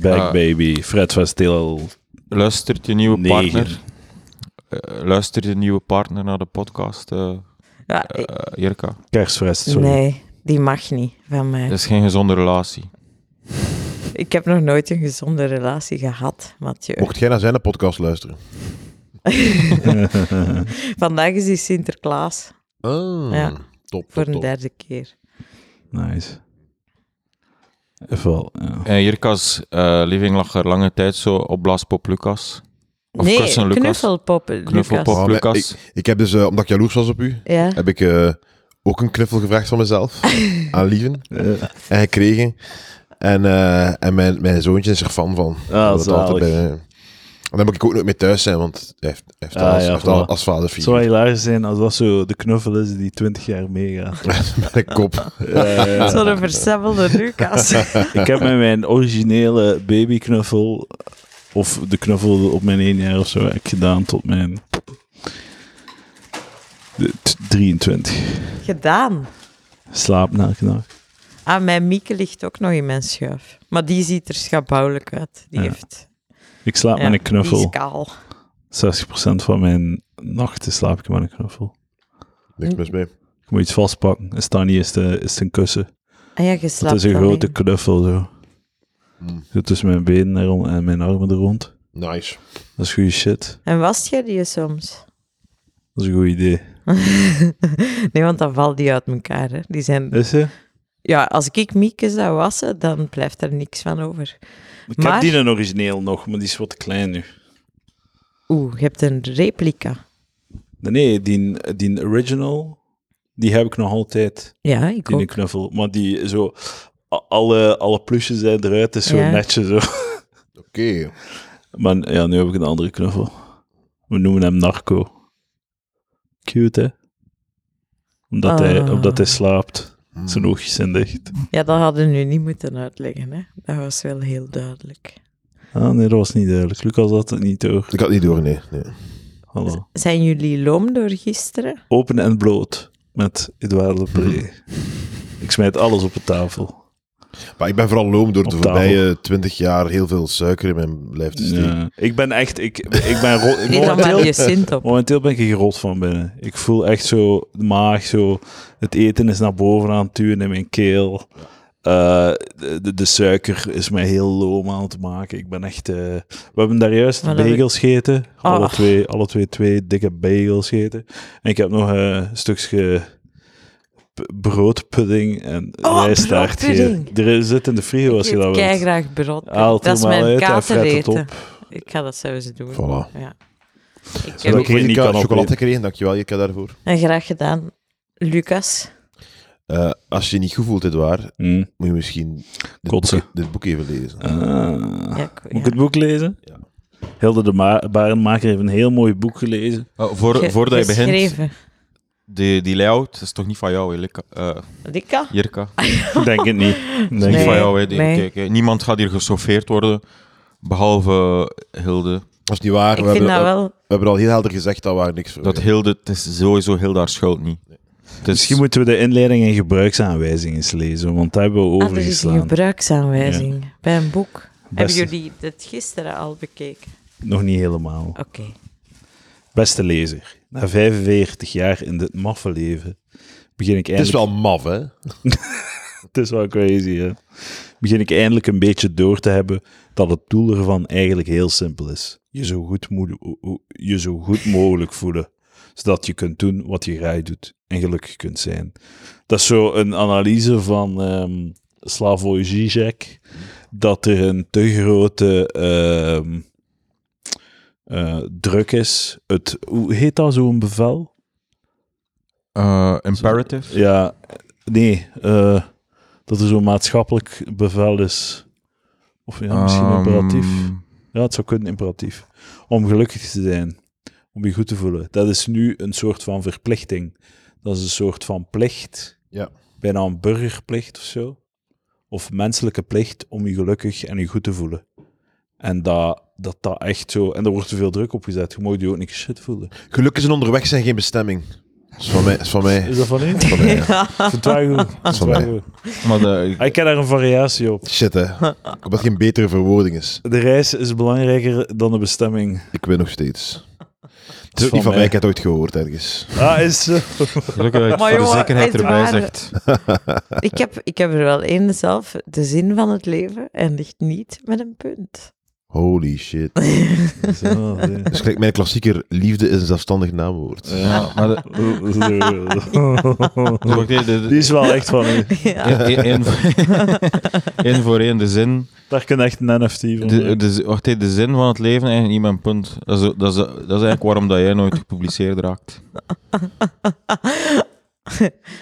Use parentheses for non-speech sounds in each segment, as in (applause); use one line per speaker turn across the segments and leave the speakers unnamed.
Back
Ah.
Baby, Fred Van Til.
Luistert je nieuwe
Negen.
partner? eh, luistert je nieuwe partner naar de podcast, eh
Ja,
eh,
ik-
Jirka?
Kersfres, sorry.
nee, die mag niet van mij.
Dat is geen gezonde relatie.
Ik heb nog nooit een gezonde relatie gehad, Mathieu.
Mocht (laughs) jij naar zijn podcast luisteren?
(laughs) Vandaag is die Sinterklaas
Ah,
Ja.
top, top,
voor een
top.
derde keer.
Nice. Even wel, ja.
En Jirka's eh living lag er lange tijd zo op Blaaspop Lucas. Of
nee,
Kussen Lucas.
knuffelpop
Knuffelpop
Lucas.
Oh, maar
Lucas.
Ik heb dus, eh, omdat ik jaloers was op u,
Ja.
heb ik eh, ook een knuffel gevraagd van mezelf
(laughs)
aan Lieven. En gekregen. En, eh, en mijn, mijn zoontje is er fan van.
Ah,
Dat altijd
zalig.
bij- En dan moet ik ook nooit meer thuis zijn, want hij heeft, hij heeft,
Ah,
al, als,
ja,
heeft al
voilà.
als
Het zou wel
(laughs) vaderfiguur
hilarisch zijn als dat zo de knuffel is die 20 jaar (laughs) meegaat.
met een kop.
Eh,
Zo'n versemmelde Lucas.
ik heb met mijn originele babyknuffel, of de knuffel op mijn 1 jaar of zo, heb ik gedaan tot mijn de- t- 23.
Gedaan.
Slaap elke nacht.
Ah, mijn Mieke ligt ook nog in mijn schuif. Maar die ziet er schabouwelijk uit. Die
Ja.
heeft...
Ik slaap
ja,
met een
Die
knuffel.
is kaal.
60% van mijn nachten slaap ik met een knuffel.
Niks mis mee.
Ik moet iets vastpakken. Is dat niet, is het, is het een kussen.
Ah ja, je slaapt
het is een
alleen.
grote knuffel zo.
Mm.
Zo tussen mijn benen er rond en mijn armen er rond.
Nice.
Dat is goede shit.
En was jij die soms?
Dat is een goed idee.
Nee, want dan valt die uit elkaar. Hè. Die zijn...
Is ze?
Ja, als ik Mieke zou wassen, dan blijft er niks van over.
Ik
Maar-
heb die een origineel nog, maar die is wat te klein nu.
Oeh, je hebt een replica.
Nee, Nee, die, die original, die heb ik nog altijd.
Ja, ik
Die
ook.
een knuffel. Maar die zo, a- alle, alle plusjes zijn eruit. Het is zo
Ja.
netjes zo.
Oké.
Maar ja, nu heb ik een andere knuffel. We noemen hem Narco. Cute, hè? Omdat, hij,
Ah.
omdat hij slaapt.
Mm.
Zijn oogjes zijn dicht.
Ja, dat hadden we nu niet moeten uitleggen. Hè. Dat was wel heel duidelijk.
Ah, nee, dat was niet duidelijk. Lucas had het niet door.
Ik had het niet door, nee. nee.
Hallo.
Zijn jullie loom door gisteren?
Open en bloot met Edouard Lepré. (laughs) ik smijt alles op de tafel.
Maar ik ben vooral loom door
Op
de
tafel.
voorbije 20 jaar heel veel suiker in mijn lijf te steken.
Ja. Ik ben echt... Ik, ik ben ro-
(laughs)
ik-
Nee, dan maar je
momenteel,
Sint op.
momenteel ben ik gerot van binnen. Ik voel echt zo de maag, zo... Het eten is naar boven aan het duwen in mijn keel. Eh, de, de, de suiker is mij heel loom aan het maken. Ik ben echt... eh, we hebben daar juist
Maar dat-
bagels gegeten. Alle,
Ah.
twee, alle twee twee dikke bagels gegeten. En ik heb nog eh, een stukje p- broodpudding en
Oh,
rijstaart gegeten. Er zit in de frigo als je dat
kei
wilt.
graag brood.
Haal het
dat is
er maar
mijn
uit en fret het
katereten.
op.
Ik ga dat zo eens doen.
Voilà.
Ja. Ik
Zodat
heb
ik- Geen
Ik
Nika
heb chocolade
opeten.
gekregen, dankjewel Jirka daarvoor.
en graag gedaan. Lucas,
Eh, als je je niet goed voelt, dit waar,
Mm.
moet je misschien dit
Kotsen.
boek, dit boek even lezen.
Ah.
ja, ik-
Moet ik
ja.
het boek lezen?
Ja.
Hilde de Ma- Barenmaker heeft een heel mooi boek gelezen.
Eh, voor,
Ge-
voordat je begint,
geschreven.
die, die layout is toch niet van jou, hè, Lika- eh,
Dikka?
Jirka?
Ik Denk het
(laughs)
niet. Ik Denk
Niet
Nee.
van jou, hè, denk
Ah, nee.
ik, hè. Niemand gaat hier geschoffeerd worden, behalve Hilde.
Dat is niet waar.
Ik
we,
vind
hebben,
dat
we,
wel...
hebben al heel helder gezegd dat waar niks voor
Dat
is.
Hilde, het is sowieso Hilde haar schuld niet. Het is-
Misschien moeten we de inleiding en gebruiksaanwijzingen eens lezen, want daar hebben we
Ah, er is een
overgeslaan.
gebruiksaanwijzing bij een boek. Hebben
Beste-
jullie dit gisteren al bekeken?
Nog niet helemaal.
Oké.
Beste lezer, na 45 jaar in dit maffe leven begin ik
Het is
eindelijk...
wel maf, hè?
(laughs) Het is wel crazy, hè? Begin ik eindelijk een beetje door te hebben dat het doel ervan eigenlijk heel simpel is. Je zo goed, moe- je zo goed mogelijk voelen, zodat je kunt doen wat je graag doet en gelukkig kunt zijn. Dat is zo een analyse van ehm Slavoj Žižek, dat er een te grote ehm, eh, druk is. Het, hoe heet dat, zo'n bevel?
eh, imperative.
Ja, nee, eh, dat er zo'n maatschappelijk bevel is. Of ja, misschien
Ehm,
imperatief. Ja, het zou kunnen imperatief. Om gelukkig te zijn, om je goed te voelen. Dat is nu een soort van verplichting. Dat is een soort van plicht.
Ja.
Bijna een burgerplicht of zo. Of menselijke plicht om je gelukkig en je goed te voelen. En dat dat, dat echt zo... En daar wordt te veel druk op gezet. Je mag je ook niet shit voelen.
Geluk is een onderweg zijn geen bestemming. is van mij. Is van mij.
Is dat van u?
Van
(laughs)
mij, ja.
Ik vind het wel goed. Ik vind het
Van
wel
mij.
goed.
Maar de,
Ah, Ik heb daar een variatie op.
Shit, hè. Ik hoop dat het geen betere verwoording is.
De reis is belangrijker dan de bestemming.
Ik win nog steeds. Het
Van
is ook niet van
mij.
mij, ik heb het ooit gehoord ergens.
Ah, is zo.
gelukkig dat je het
Maar
voor de
jongen,
zekerheid
het
erbij
waren-
zegt.
(laughs) Ik heb, ik heb er wel één zelf. De zin van het leven en ligt niet met een punt. (laughs)
Holy shit.
Zo, ja.
Dus gelijk mijn klassieker, liefde is een zelfstandig naamwoord.
Ja, maar (laughs) de,
Oh,
dus wacht even, de- de-
Die is wel echt van u.
Ja.
één- één voor- één voor één, de zin.
Daar kan echt een NFT van
De,
maken.
de, z- wacht even, de zin van het leven en niet mijn punt. Dat is, dat, is, dat is eigenlijk waarom dat jij nooit gepubliceerd raakt.
(laughs)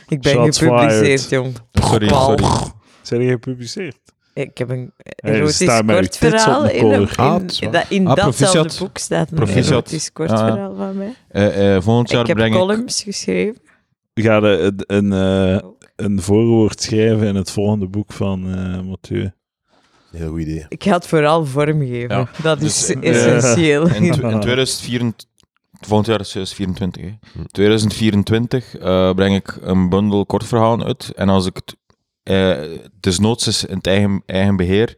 Ik ben
Shots
gepubliceerd,
fired.
jong.
Oh, Sorry,
Paul.
sorry.
Zijn die gepubliceerd?
Ik heb een
Hey, er
erotisch
staan mijn
kort
tits op
verhaal
mijn
in, een,
cover.
in,
Ah, het is waar.
dat, in
Ah,
datzelfde
proficiat.
boek staat een
Proficiat.
erotisch kort
Ah, ja.
verhaal van mij.
Eh, eh, volgend
Ik
jaar
heb
breng ik...
columns geschreven.
Ga de- een, een, eh, een voorwoord schrijven in het volgende boek van eh, Mathieu.
Heel goed idee.
Ik ga het vooral vormgeven.
Ja.
Dat
Dus,
is
eh,
essentieel.
In, tw- in 2024... Volgend jaar is 2024, hè. 2024 eh, breng ik een bundel kortverhalen uit. En als ik het... eh desnoods is in het eigen, eigen beheer.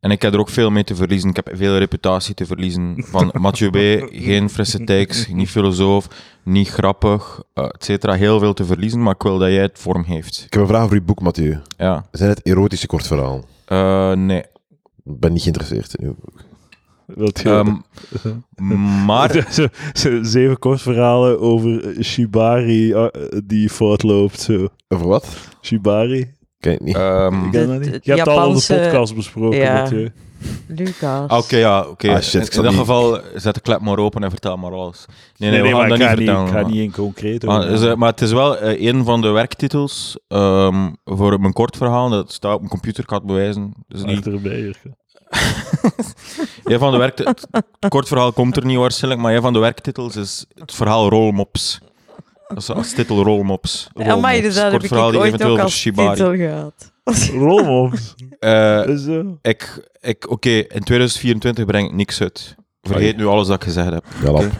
En ik heb er ook veel mee te verliezen. Ik heb veel reputatie te verliezen. Van Mathieu B., geen frisse tekst, niet filosoof, niet grappig, eh, et cetera. Heel veel te verliezen, maar ik wil dat jij het vorm heeft.
Ik heb een vraag voor uw boek, Mathieu.
Ja.
Zijn het erotische kortverhalen?
Eh, nee.
Ik ben niet geïnteresseerd in uw boek.
Wilt je... (laughs)
Ehm, maar...
Zo- zo- Zeven kort verhalen over Shibari eh, die voortloopt. Zo.
Over wat?
Shibari?
Kijk niet.
ehm,
Ik ken dat
Het-
niet.
het
Je hebt het al op de
Japanse-
podcast besproken,
Ja.
Mathieu.
Lucas.
Ah, Oké, ja, oké.
Ah, shit,
in
ik
in
zat
dat
niet-
geval, zet de klep maar open en vertel maar alles. Nee, nee, we gaan
maar
dat
ik
niet
ga
vertellen.
Ik ga
maar.
niet in concreet.
Maar,
over.
is, eh, maar het is wel eh, een van de werktitels ehm, voor mijn kort verhaal. Dat staat op mijn computer, ik kan het bewijzen. Dus niet,
Achterbij, Jurgen.
een van de werkt het kort verhaal komt er niet waarschijnlijk, maar een van de werktitels is het verhaal Rolmops. Dat is als titel Rolmops.
Amai,
Rolmops.
dus dat
Kort
heb ik
verhaal die
ooit
eventueel
ook
voor
als
Shibari.
titel gehad.
(laughs)
Rolmops.
Eh,
Is zo.
ik, ik, oké, in 2024 breng ik niks uit. Vergeet nu alles dat ik gezegd heb.
Ah,
Ja, lap.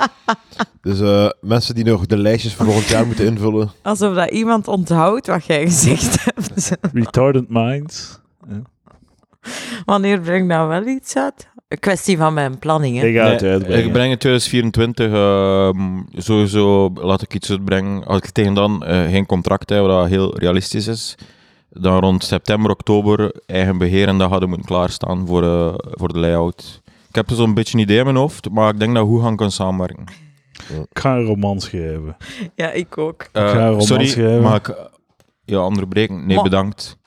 (laughs) dus eh, mensen die nog de lijstjes voor volgend jaar moeten invullen,
Alsof dat iemand onthoudt wat jij gezegd (laughs) hebt. Dus,
Retarded Minds.
Wanneer breng ik nou wel iets uit? Een kwestie van mijn planning, hè.
Ik ga het
Nee,
uitbrengen.
Ik breng het 2024. ehm, sowieso laat ik iets uitbrengen. Als ik tegen dan eh, geen contract heb, wat heel realistisch is. Dan rond september, oktober eigen beheer en dat hadden moeten klaarstaan voor, eh, voor de layout. Ik heb er zo'n beetje een idee in mijn hoofd, maar ik denk dat we goed gaan kunnen samenwerken.
Ik ga een roman schrijven.
Ja, ik ook.
Eh,
ga een roman
sorry,
schrijven.
mag ik eh, je onderbreken? Nee,
Maar-
bedankt.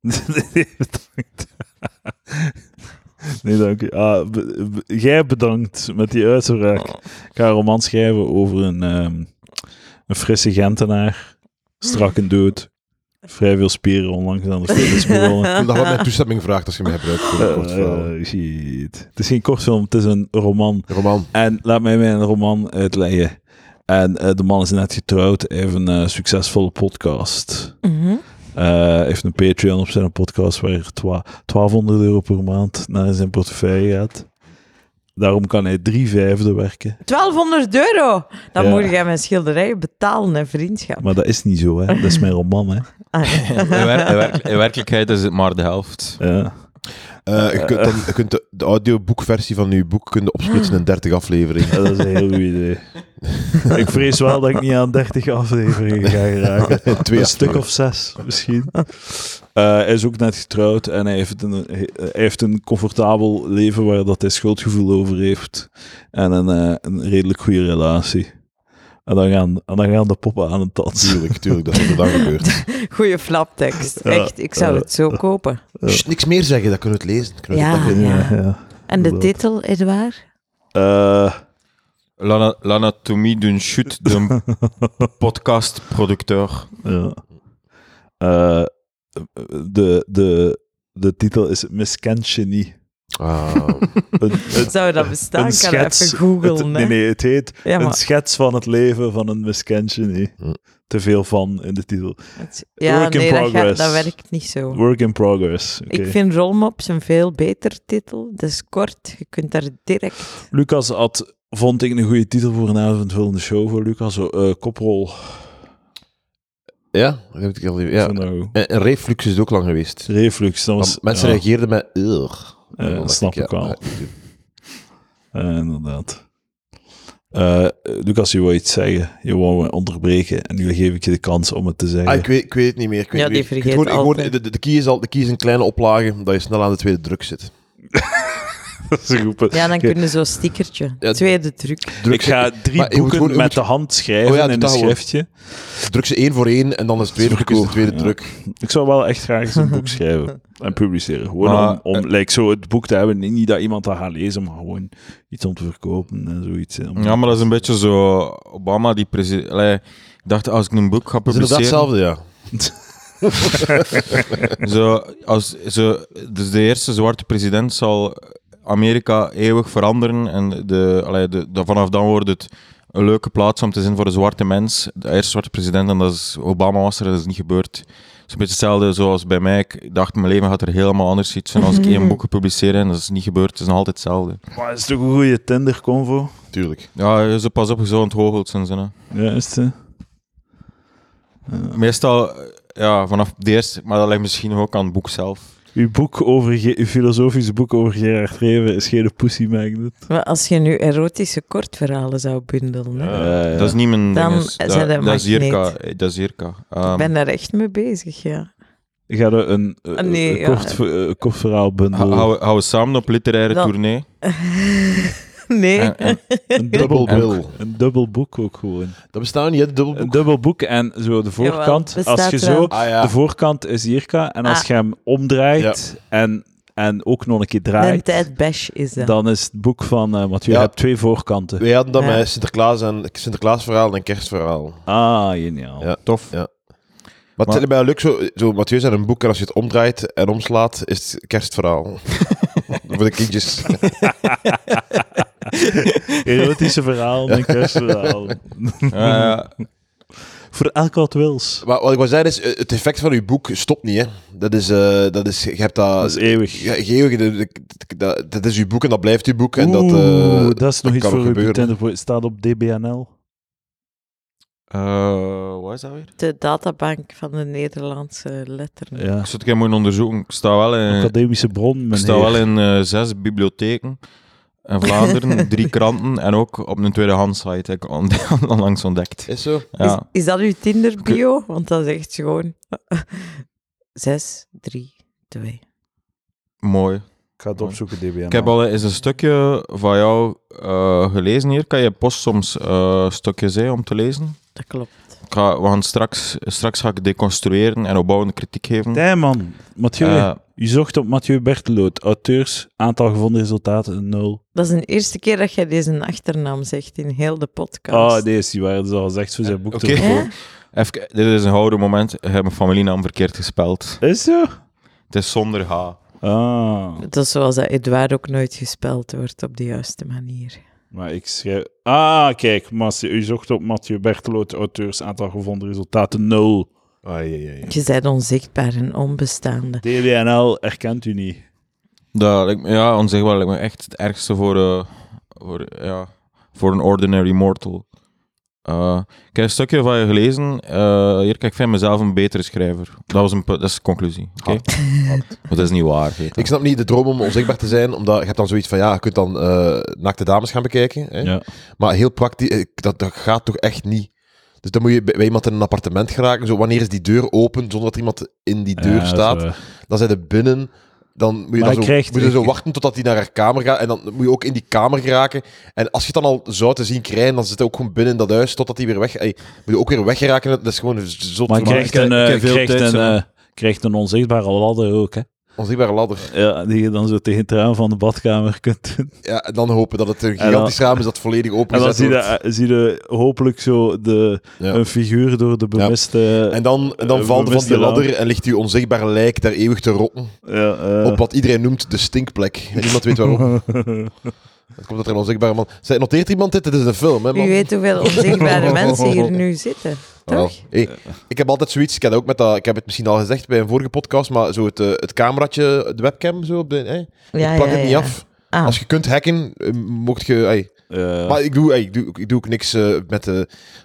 nee, bedankt. (laughs) nee, dank je. Ah, be- be- jij bedankt met die uitspraak. Ik ga een roman schrijven over een, ehm, een frisse Gentenaar. Strak en dood. Vrij veel spieren onlangs aan de fitness
(laughs)
begonnen.
Ik wil dat wat mijn toestemming vraagt als je mij gebruikt voor een kort verhaal.
Eh, shit. Het is geen kortfilm, het is een roman.
Roman.
En laat mij mijn roman uitleggen. En eh, de man is net getrouwd, hij heeft een eh, succesvolle podcast.
Mhm.
Eh, heeft een Patreon op zijn podcast waar er twa- 1200 euro per maand naar zijn portefeuille gaat. Daarom kan hij drie vijfde werken.
1200 euro! Dan
Ja.
moet jij mijn schilderijen betalen, hè, vriendschap.
Maar dat is niet zo, hè. Dat is mijn roman, hè.
Ah,
(laughs)
ja.
In, wer- in werk- in werkelijkheid is het maar de helft.
Ja.
Eh, je kunt, dan, je kunt de, de audioboekversie van uw boek kunnen opsplitsen in 30
(laughs)
afleveringen.
dat is een heel goed idee. (laughs) ik vrees wel dat ik niet aan 30 afleveringen ga geraken. (laughs)
In twee
een stuk
afleveringen.
of zes, misschien. Eh, hij is ook net getrouwd en hij heeft, een, eh, hij heeft een comfortabel leven waar dat hij schuldgevoel over heeft. En een, eh, een redelijk goede relatie. En dan gaan, en dan gaan de poppen aan het dansen.
Tuurlijk, tuurlijk, dat is wat er dan
Eh.
gebeurt.
Goeie flaptekst.
Ja.
Echt, ik zou het zo kopen.
Sst, niks meer zeggen, dat kunnen we het lezen. Dat kunnen we het
Ah, Ja.
lezen.
eh,
En de
Dat.
titel, Edouard?
Eh,
Lana- L'anatomie d'un shoot,
(laughs)
de podcastproducteur.
ja.
(laughs)
Eh, de, de, de titel is Misken Genie.
Ah,
Een, een-
Zou dat bestaan?
een
Ik kan dat
schets.
even googlen.
het-
hè.
nee, nee, het heet
ja,
Een
maar,
schets van het leven van een miskentje. Nee.
Hm.
Te veel van in de titel.
het- ja,
work in
nee, dat, gaat,
progress.
dat werkt niet zo.
Work in progress. Oké.
Ik vind Rolmops een veel beter titel. Dat is kort. Je kunt daar direct.
Lucas had, vond ik een goede titel voor een avondvullende show voor Lucas. Zo, eh, koprol.
ja, dat heb ik al even. Ja.
Zo nou,
En, en reflux is het ook lang geweest.
reflux. Dat was,
Want mensen
ja,
reageerden met ur.
eh, snap ik wel. Eh, inderdaad. Eh, Lucas, je wou iets zeggen. Je wou me onderbreken. En nu geef ik je de kans om het te zeggen.
Ah, ik, weet, ik weet het niet meer. Ik weet
Ja,
het niet
die
meer. Ik
vergeet
weet gewoon- ik gewoon-
altijd.
de, de, key is al, de key is een kleine oplage, dat je snel aan de tweede druk zit.
Dat is een goed punt.
(laughs) Ja, dan
Oké.
kun je zo'n stickertje.
Ja,
Tweede truc.
Druk
Ik ga drie
Maar je moet
boeken
gewoon- je
met
moet-
de hand schrijven
Oh ja, doe
in
dat
een
gewoon.
schriftje.
ze, druk ze één voor één en dan is de tweede druk is de
Supercool.
tweede
Ja.
druk.
Ik zou wel echt graag eens een (laughs) boek schrijven en publiceren. Gewoon
Maar,
om, om like, zo het boek te hebben. Niet niet dat iemand dat gaat lezen, maar gewoon iets om te verkopen en zoiets. hè. Om-
Ja, maar dat is een beetje zo. Obama die president. Allee, Ik dacht, als ik een boek ga
Dat is inderdaad
publiceren.
hetzelfde, ja.
(laughs) Zo, als, zo, dus de eerste zwarte president zal Amerika eeuwig veranderen. En de, allee, de, de- vanaf dan wordt het een leuke plaats om te zijn voor een zwarte mens. De eerste zwarte president, en dat is Obama was er, dat is niet gebeurd. Het is een beetje hetzelfde zoals bij mij. Ik dacht, mijn leven gaat er helemaal anders uit zijn als ik (laughs) één boek ga publiceren. En dat is niet gebeurd, het is nog altijd hetzelfde.
Maar is toch een goede Tinder-convo?
Tuurlijk.
Ja, zo pas op, zo onthoogeld zijn ze. hè.
Ja, is het, hè?
Meestal, ja, vanaf de eerste, maar dat ligt misschien ook aan het boek zelf.
Uw, boek over Ge- uw filosofische boek over Gerard Reven is geen pussy magnet.
Maar als je nu erotische kortverhalen zou bundelen, hè?
Ja, ja.
Eh, Dat is niet mijn
Dan
ding, is-
zijn
dat,
de
dat is Jirka.
magneet.
eh, Dat is Jirka.
ik
Ehm,
ben daar echt mee bezig, ja. (laughs)
Ga er een, eh,
Ah, nee,
een
ja.
kort, ver- eh, kort verhaal
hou-
bundelen.
hou- Hou we samen op literaire
Dan-
tournee.
nee.
En- en-
Een dubbel,
Dubbel
boek.
wil.
een dubbel boek ook gewoon.
Dat bestaat niet, hè, dubbel
Een dubbel boek en zo de voorkant.
bestaat
als je
wel.
zo
Eh, Ah ja.
De voorkant is Jirka. En als
Ah.
je hem omdraait en, en ook nog een keer
Mijn
draait,
tijd bash is dat.
dan is het boek van... eh want je
Ja.
hebt twee voorkanten.
Wij hadden dat
Ja.
met Sinterklaas en Sinterklaasverhaal en kerstverhaal.
Ah, geniaal.
Ja.
Tof.
Ja. Maar het
Maar-
is bij leuk zo, zo Mathieu zijn een boek en als je het omdraait en omslaat, is het kerstverhaal. Voor de kindjes.
Erotische verhaal, een kerstverhaal.
Eh,
Voor elk wat wils.
Maar wat ik wil zeggen is, eh, het effect van je boek stopt niet, hè. Dat is, eh, dat is, je hebt dat...
Dat is eeuwig.
Ja, eeuwig, de- de- de- dat, dat is uw boek en dat blijft uw boek. En dat, eh,
Oeh, dat is nog iets
kan
voor
nog
uw
gebeuren.
Tinder. voor- Staat op DBNL.
eh, Wat is dat weer?
De databank van de Nederlandse letteren.
Ja.
Ik zou het een keer moeten onderzoeken. Ik sta wel in,
Academische bron,
Eh, ik
meneer.
sta wel in eh, zes bibliotheken
(laughs)
in Vlaanderen, drie kranten en ook op een tweedehands site. heb Ik on- (laughs) onlangs ontdekt.
Is zo.
Ja.
Is, is dat uw Tinder-bio? Want dat is echt gewoon... (laughs) 6, 3, 2.
Mooi.
Ik ga het opzoeken, DBNL.
Ik heb al eens een stukje van jou eh, gelezen hier. Kan je post soms eh, stukjes hè, om te lezen?
Dat klopt.
Ik ga, we gaan straks, straks ga ik deconstrueren en opbouwende kritiek geven.
Tij, man. Mathieu,
Eh,
u zocht op Mathieu Berteloot. Auteurs, aantal gevonden resultaten, nul.
Dat is de eerste keer dat jij deze achternaam zegt in heel de podcast.
Ah, nee, is die waar. Dat is al gezegd voor zijn boek.
Oké.
te verkopen.
Hè?
Even, dit is een houden moment. Ik heb mijn familienaam verkeerd gespeld.
Is zo?
Het is zonder H.
Ah.
Dat is zoals dat Edouard ook nooit gespeld wordt op de juiste manier.
Maar ik schrijf... Ah, kijk. Mas, u zocht op Mathieu Berteloot, auteurs, aantal gevonden resultaten, nul.
Ai, ai, ai.
Je bent onzichtbaar en onbestaande.
DWNL erkent u niet.
Dat lijkt me, ja, onzichtbaar lijkt me echt het ergste voor, eh, voor, ja, voor een ordinary mortal. Eh, ik heb een stukje van je gelezen. Eh, hier, kijk, ik vind mezelf een betere schrijver. Dat, was een, pu- dat is de conclusie. Oké? (laughs) Maar dat is niet waar. weet je.
Ik snap niet de droom om onzichtbaar te zijn, omdat je hebt dan zoiets van, ja, je kunt dan eh, naakte dames gaan bekijken. Hè?
Ja.
Maar heel praktisch, eh, dat, dat gaat toch echt niet. Dus dan moet je bij bij iemand in een appartement geraken. Zo, wanneer is die deur open zonder dat iemand in die deur staat? Dan zijn er binnen. Dan moet je,
Maar
dan zo,
hij krijgt-
moet je zo wachten totdat hij naar haar kamer gaat. En dan moet je ook in die kamer geraken. En als je het dan al zou te zien krijgen, dan zit hij ook gewoon binnen in dat huis totdat hij weer weg... Ey, moet je ook weer weggeraken. Dat is gewoon zot.
Maar
vermaak.
krijgt een,
ik heb
eh,
veel
krijgt,
tijd,
een,
hè.
eh, krijgt een onzichtbare ladder ook, hè.
onzichtbare ladder.
Ja, (laughs) die je dan zo tegen het raam van de badkamer kunt doen.
Ja, en dan hopen dat het een
dan-
gigantisch raam is dat volledig
En dan
opengezet
zie
wordt.
je, zie je hopelijk zo de,
Ja.
een figuur door de bemiste...
En dan, en dan
Eh,
valt van
vermist
die
de
ladder en ligt uw onzichtbare lijk daar eeuwig te rotten.
Ja, eh,
Op wat iedereen noemt de stinkplek. En niemand weet
(laughs)
waarom. Het komt dat er een onzichtbare man... Zij, noteert iemand dit? Dit is een film, hè, man?
Wie weet hoeveel
(laughs)
onzichtbare mensen hier nu zitten.
Ah, wel.
Toch?
Hey, ik heb altijd zoiets, ik, had ook met dat, ik heb het misschien al gezegd bij een vorige podcast, maar zo het, eh, het cameratje, de webcam, zo op de, hè?
Ja,
ik plak
ja,
het niet
ja.
af.
Ah,
Als je kunt hacken, eh, mocht je... ai.
ja.
Maar ik doe, ai, ik, doe, ik doe ook niks eh, met... eh,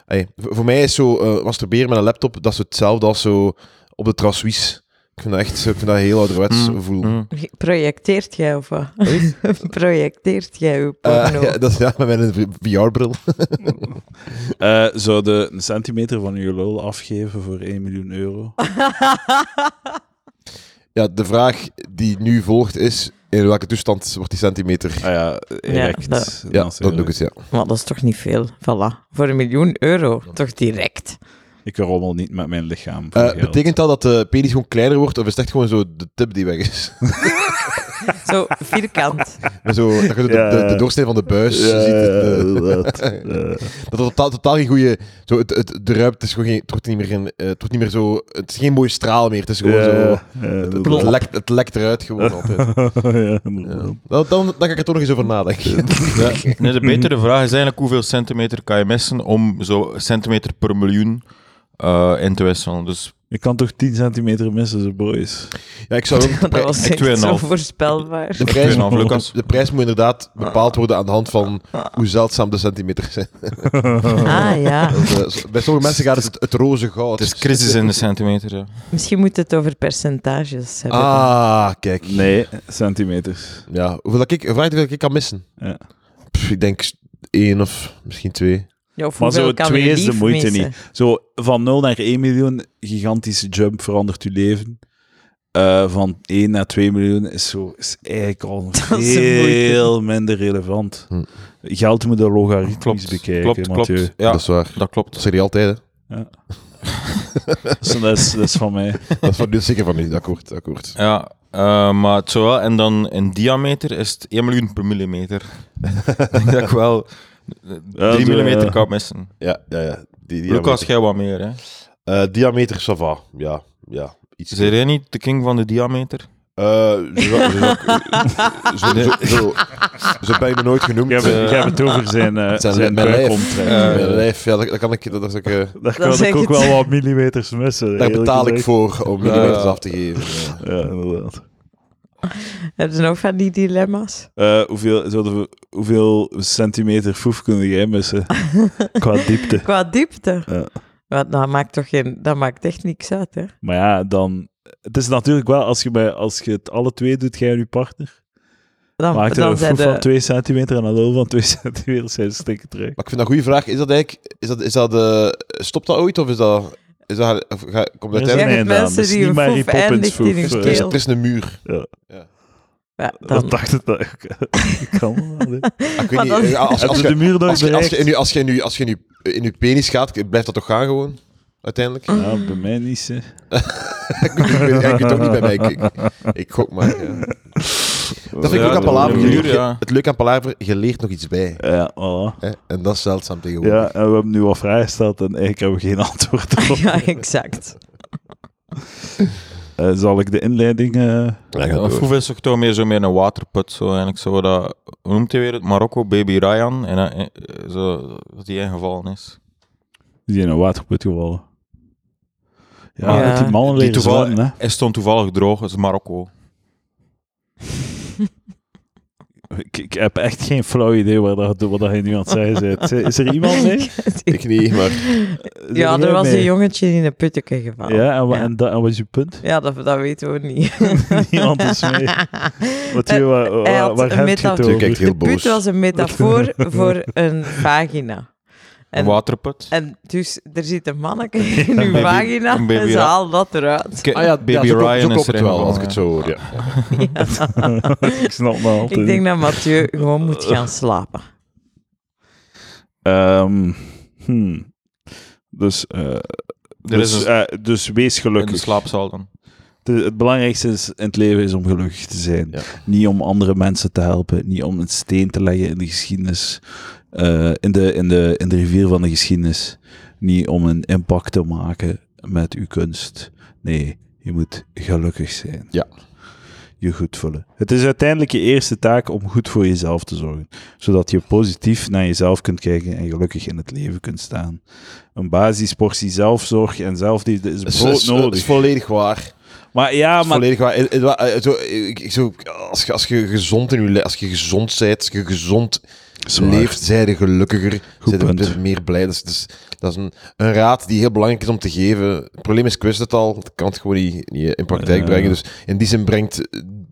ai. V- voor mij is zo eh, masturberen met een laptop, dat is hetzelfde als zo op de trasuis. Ik vind dat echt zo, ik vind dat heel ouderwets
Mm,
voelen.
Mm.
projecteert jij of wat? (laughs) projecteert jij uw
Eh,
porno?
(laughs)
(laughs)
ja, dat, ja, met mijn VR-bril.
Eh, zou de een centimeter van je lul afgeven voor 1 miljoen euro?
Ja, de vraag die nu volgt is, in welke toestand wordt die centimeter...
Ah ja, direct.
dat-
Ja, dan doe ik het, ja.
Maar dat is toch niet veel? Voilà. Voor een miljoen euro. Toch direct.
Ik rommel niet met mijn lichaam. voor
Eh,
geld.
betekent dat dat de penis gewoon kleiner wordt, of is het echt gewoon zo de tip die weg is? (laughs)
Zo vierkant.
zo, dat je de,
Ja.
de, de doorsnee van de buis
Ja,
dus- ziet.
dat,
het, eh,
eh.
dat is totaal, totaal geen goede. Zo, het, het, de ruimte is gewoon geen, het wordt niet meer geen, eh, het wordt niet meer zo. Het is geen mooie straal meer. Het is gewoon zo.
Ja,
het-
ja,
Het,
dat-
lekt, het lekt eruit gewoon altijd.
(laughs)
(laughs)
Ja,
Ja.
inderdaad.
Dan, dan, dan ga ik er toch nog eens over nadenken. Ja.
Nee, de betere vraag is eigenlijk hoeveel centimeter kan je missen om zo centimeter per miljoen eh, in te wisselen. Dus
Je kan toch 10 centimeter missen, zo boys.
(laughs) Ja, ik zou ook
(laughs)
de,
Dat
prij-
was
Ik
echt zo
2,5.
(laughs)
voorspelbaar.
de prijs,
2,5 Lucas.
de prijs moet inderdaad bepaald worden aan de hand van hoe zeldzaam de centimeters zijn. (laughs)
Ah ja.
Want, eh, zo- bij sommige mensen gaat het het roze goud.
het is crisis in de centimeter. Ja.
Misschien moet het over percentages hebben.
Ah, kijk.
Nee, centimeters.
Ja, hoeveel dat ik, vraag hoeveel ik kan missen?
Ja.
Pff, ik denk één of misschien twee.
Ja, of
Maar
hoeveel
zo
kan
twee
je
is de
lief
moeite
missen?
niet. Zo van 0 naar 1 miljoen, gigantische jump verandert je leven. Eh, van 1 naar 2 miljoen is, zo, is eigenlijk al
is een moeite.
veel minder relevant.
Hm.
Geld moet je logaritmisch
Klopt,
bekijken,
klopt,
Mathieu.
klopt. Ja,
Dat is waar.
dat klopt.
Dat zeg je altijd, hè.
Dus (laughs) dat, is, dat is van mij.
Dat is van, dat is zeker van u. Akkoord, akkoord.
Ja, eh, maar het zou wel. En dan in diameter is het 1 miljoen per millimeter. ik denk dat ik
(laughs)
wel 3
Ja,
dus,
zo,
millimeter
eh,
ja.
kan missen.
Ja, ja, ja. Die, die
Lucas, jij wat meer, hè?
Eh, diameter, ça va. Ja, ja. Iets.
Zijn jij niet de king van de diameter?
Eh, zo, zo, zo, zo, zo, zo ben je me nooit genoemd.
Je hebt,
Eh,
je hebt het over zijn, eh
(laughs) het zijn
zijn,
mijn lijf.
buikomtrek.
Eh,
mijn lijf, ja, dat, dat kan ik, dat, is ook, eh,
Daar
Dat
kan
zeg
ik ook
het.
wel wat millimeters missen.
daar
eerlijk
betaal ik
gezegd.
voor om millimeters
Ja.
af te geven. ja.
Ja, inderdaad.
Heb je nog van die dilemma's?
Eh, hoeveel, zouden we- hoeveel centimeter foef kunnen jij
(laughs)
missen? Qua diepte.
Qua diepte?
Ja.
Want dat maakt toch geen... Dat maakt echt niks uit, hè?
Maar ja, dan... Het is natuurlijk wel, als je, bij, als je het alle twee doet, jij en je partner,
Dan,
maakt er
dan
een
zijn
foef
de-
van 2 centimeter en een lul van 2 (laughs) centimeter zijn stikken terug.
Maar ik vind dat een goede vraag. Is dat eigenlijk... Is dat, is dat, eh, stopt dat ooit? Of is dat... Is dat of ga, komt dat
Er zijn
uiteindelijk...
Ja,
een
mensen
naam, dus
die
niet
een
Mary
foef
Poppins
eindigt
foef,
in een
eh.
Er is,
keel.
er is een muur.
Ja,
(laughs) Dat
dan...
dacht ik (laughs) dat ik kan. wel, hè.
Ah, Ik weet
Maar
niet,
dan-
eh, als,
Heb
als,
je
je-
de muur nooit
Als je, als, je in
bereikt?
je, als, je in je, als je in je in je penis gaat, blijft dat toch gaan gewoon? (laughs) Uiteindelijk?
Ja, bij mij niet, hè.
ik weet- ik weet het ook niet bij mij. Ik, ik, ik gok maar. ja. Dat vind ik
Ja,
ook aan
de-
Palaver.
de
Je
muur,
leert-
ja.
Het leuke aan Palaver, je leert nog iets bij.
Ja, voilà.
Hè? En dat is zeldzaam tegenwoordig.
Ja, en we hebben nu al vragen gesteld en eigenlijk hebben we geen (laughs) antwoord erop.
(laughs) Ja, exact.
Eh, zal ik de inleiding... eh,
Ja, gaat
Of
door.
hoeveel is toch toch meer zo meer een waterput? Zo eigenlijk zo dat, hoe noemt hij weer het? Marokko, Baby Ryan. En eh, eh, zo, dat die ingevallen is.
Die in een waterput gevallen. Ja,
Ja.
dat die mannen
Die
leren
toeval-
zwemmen, hè.
Hij stond toevallig droog, dat is Marokko.
Ik, ik heb echt geen flauw idee waar dat, wat dat je nu aan het zeggen bent. Is- Is er (laughs) iemand
(laughs)
mee?
Ik niet, maar
Zijn
Ja,
jij
er was
mee?
een jongetje in een putteke gevallen.
Ja, en, wa-
Ja.
en, dat- en wat is je
(laughs)
punt?
Ja, dat, dat weten we
(laughs)
niet.
Niemand is mee.
(laughs)
Wat je, waar,
hij
waar,
had
waar
een
heb je het
je
metafoor.
over?
kijkt heel
Put
boos.
was een
(laughs)
metafoor voor een vagina.
Een
En,
waterput.
en dus, er zit een manneke in uw
Baby-
vagina
een baby
en ze
ra-
haalt dat eruit.
Ke-
Ah ja,
Baby
ja, zo klopt- zo
Ryan
klopt
is
het
erin
wel, als ik het
gevallen,
zo hoor. Ja.
ik snap me altijd.
Ik denk dat
(laughs)
Mathieu gewoon moet gaan slapen.
Ehm, hmm. Dus, eh,
Er is
dus,
een-
eh, dus wees
ja. In de
gelukkig.
slaapzaal dan.
De- het belangrijkste is, in het leven is om gelukkig te zijn.
Ja.
Niet om andere mensen te helpen. Niet om een steen te leggen in de geschiedenis. eh, in, de, in, de, in de rivier van de geschiedenis. Niet om een impact te maken met uw kunst. Nee, je moet gelukkig zijn.
Ja.
Je goed voelen. Het is uiteindelijk je eerste taak om goed voor jezelf te zorgen. Zodat je positief naar jezelf kunt kijken en gelukkig in het leven kunt staan. Een basisportie zelfzorg en zelfliefde is
Dus Het is, is,
broodnodig.
is volledig waar.
Maar ja,
Is
maar
volledig waar. Het- het wa- eh, zo, ik, ik- zo, als, je, als je gezond in je le- als je gezond bent, als je gezond leeft, zijn je gelukkiger,
Goed
zijn
punt.
je meer blij. Dus, dus, dat is een, een raad die heel belangrijk is om te geven. Het probleem is, ik wist het al, ik kan het gewoon niet, niet in praktijk
Ja.
brengen. Dus in die zin brengt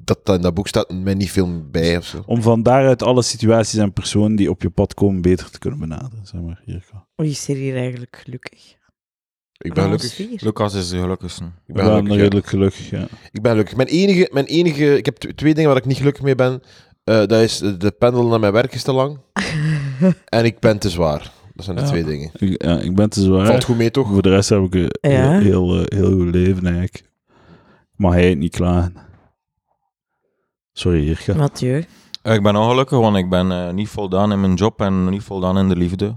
dat dat in dat boek staat mij niet veel bij of zo.
Om van daaruit alle situaties en personen die op je pad komen beter te kunnen benaderen. Zeg maar, hier.
Oei, is er hier eigenlijk gelukkig?
Ik ben
Van ons
gelukkig.
vier?
Lucas is de gelukkigste.
Ik
Ik
ben
ben
gelukkig. ja.
redelijk gelukkig, ja.
Ik ben gelukkig. Mijn enige, mijn enige, ik heb tw- twee dingen waar ik niet gelukkig mee ben. Eh, dat is eh, de pendel naar mijn werk is te lang. en ik ben te zwaar. Dat zijn de
Ja.
twee dingen.
Ik, ja, ik ben te zwaar.
Valt goed mee toch?
Voor de rest heb ik een
Ja.
heel, heel, eh, heel goed leven eigenlijk. Maar hij heeft niet klaar. Sorry, Jirka.
Mathieu.
Eh, Ik ben ongelukkig, want ik ben eh, niet voldaan in mijn job en niet voldaan in de liefde.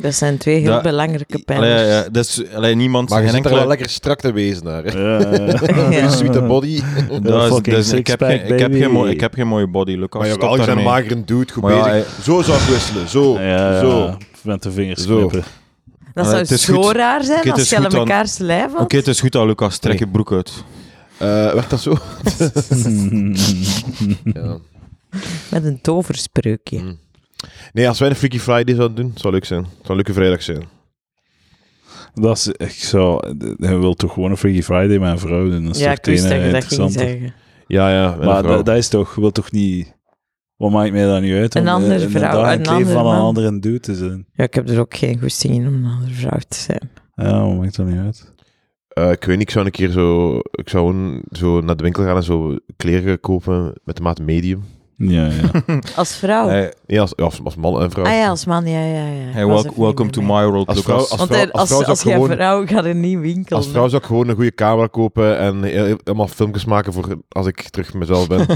Dat zijn twee heel
Dat-
belangrijke pijlers.
Allee, ja, dus, allee, niemand...
Maar je
geen
zit er
enkele-
wel lekker strak te wezen naar. hè.
(laughs) Ja.
(laughs)
Ja.
Goeie Sweet body.
Dat is-
Fucking
dus ik, heb
sixpack,
geen, ik, heb
baby.
geen mooi, ik heb geen mooie body, Lucas.
maar je
Stop
wel, ik ben een
daarmee.
magere dude, goed
Maar ja,
bezig. Zo zou ik wisselen, zo.
Ja,
zo.
ja, met de vingers
Zo.
knippen. (laughs)
Dat
Eh,
zou
het is
zo
goed.
raar zijn
Oké, het
als
is
je aan
goed, want-
elkaars lijf
Oké, het is goed al, Lucas. Trek je broek uit.
Eh, werkt dat zo? (laughs) ja.
met een
Mm,
toverspreukje.
Hmm. Nee, als wij een Freaky Friday zouden doen, zou leuk zijn. Zou een leuke vrijdag zijn.
Dat is echt zo... Hij wil toch gewoon een Freaky Friday met een vrouw doen? Dat is
Ja,
toch
ik wist
het
dat
ene
je
eh,
dat ging
interessanter.
zeggen.
Ja, ja. met
Maar
een vrouw.
dat, dat is toch, wil toch niet. Wat maakt mij dat nu uit?
Een
om, eh,
andere vrouw,
dag in het
een
leven
andere
van een
man.
andere dude te zijn.
Ja, ik heb er ook geen goesting in om een andere vrouw te zijn.
Ja, wat maakt dat niet uit?
Eh, ik weet niet, ik zou een keer zo, ik zou gewoon zo naar de winkel gaan en zo kleren kopen met de maat medium.
Ja, (laughs) ja.
Als vrouw?
Hij-
Ja, als, ja, als, als man en vrouw.
ah ja, als man, ja, ja, ja.
hij
Ik was
wel-
even
welcome
niet
to
meer
my
mee.
world,
Als
Lucas.
vrouw, als
Want
vrouw,
hij-
als vrouw
als,
zou
als
ik
jij
gewoon,
vrouw gaat er niet winkelen.
als vrouw zou ik gewoon een goede camera kopen en heel- helemaal filmpjes maken voor als ik terug mezelf
(laughs)
ben.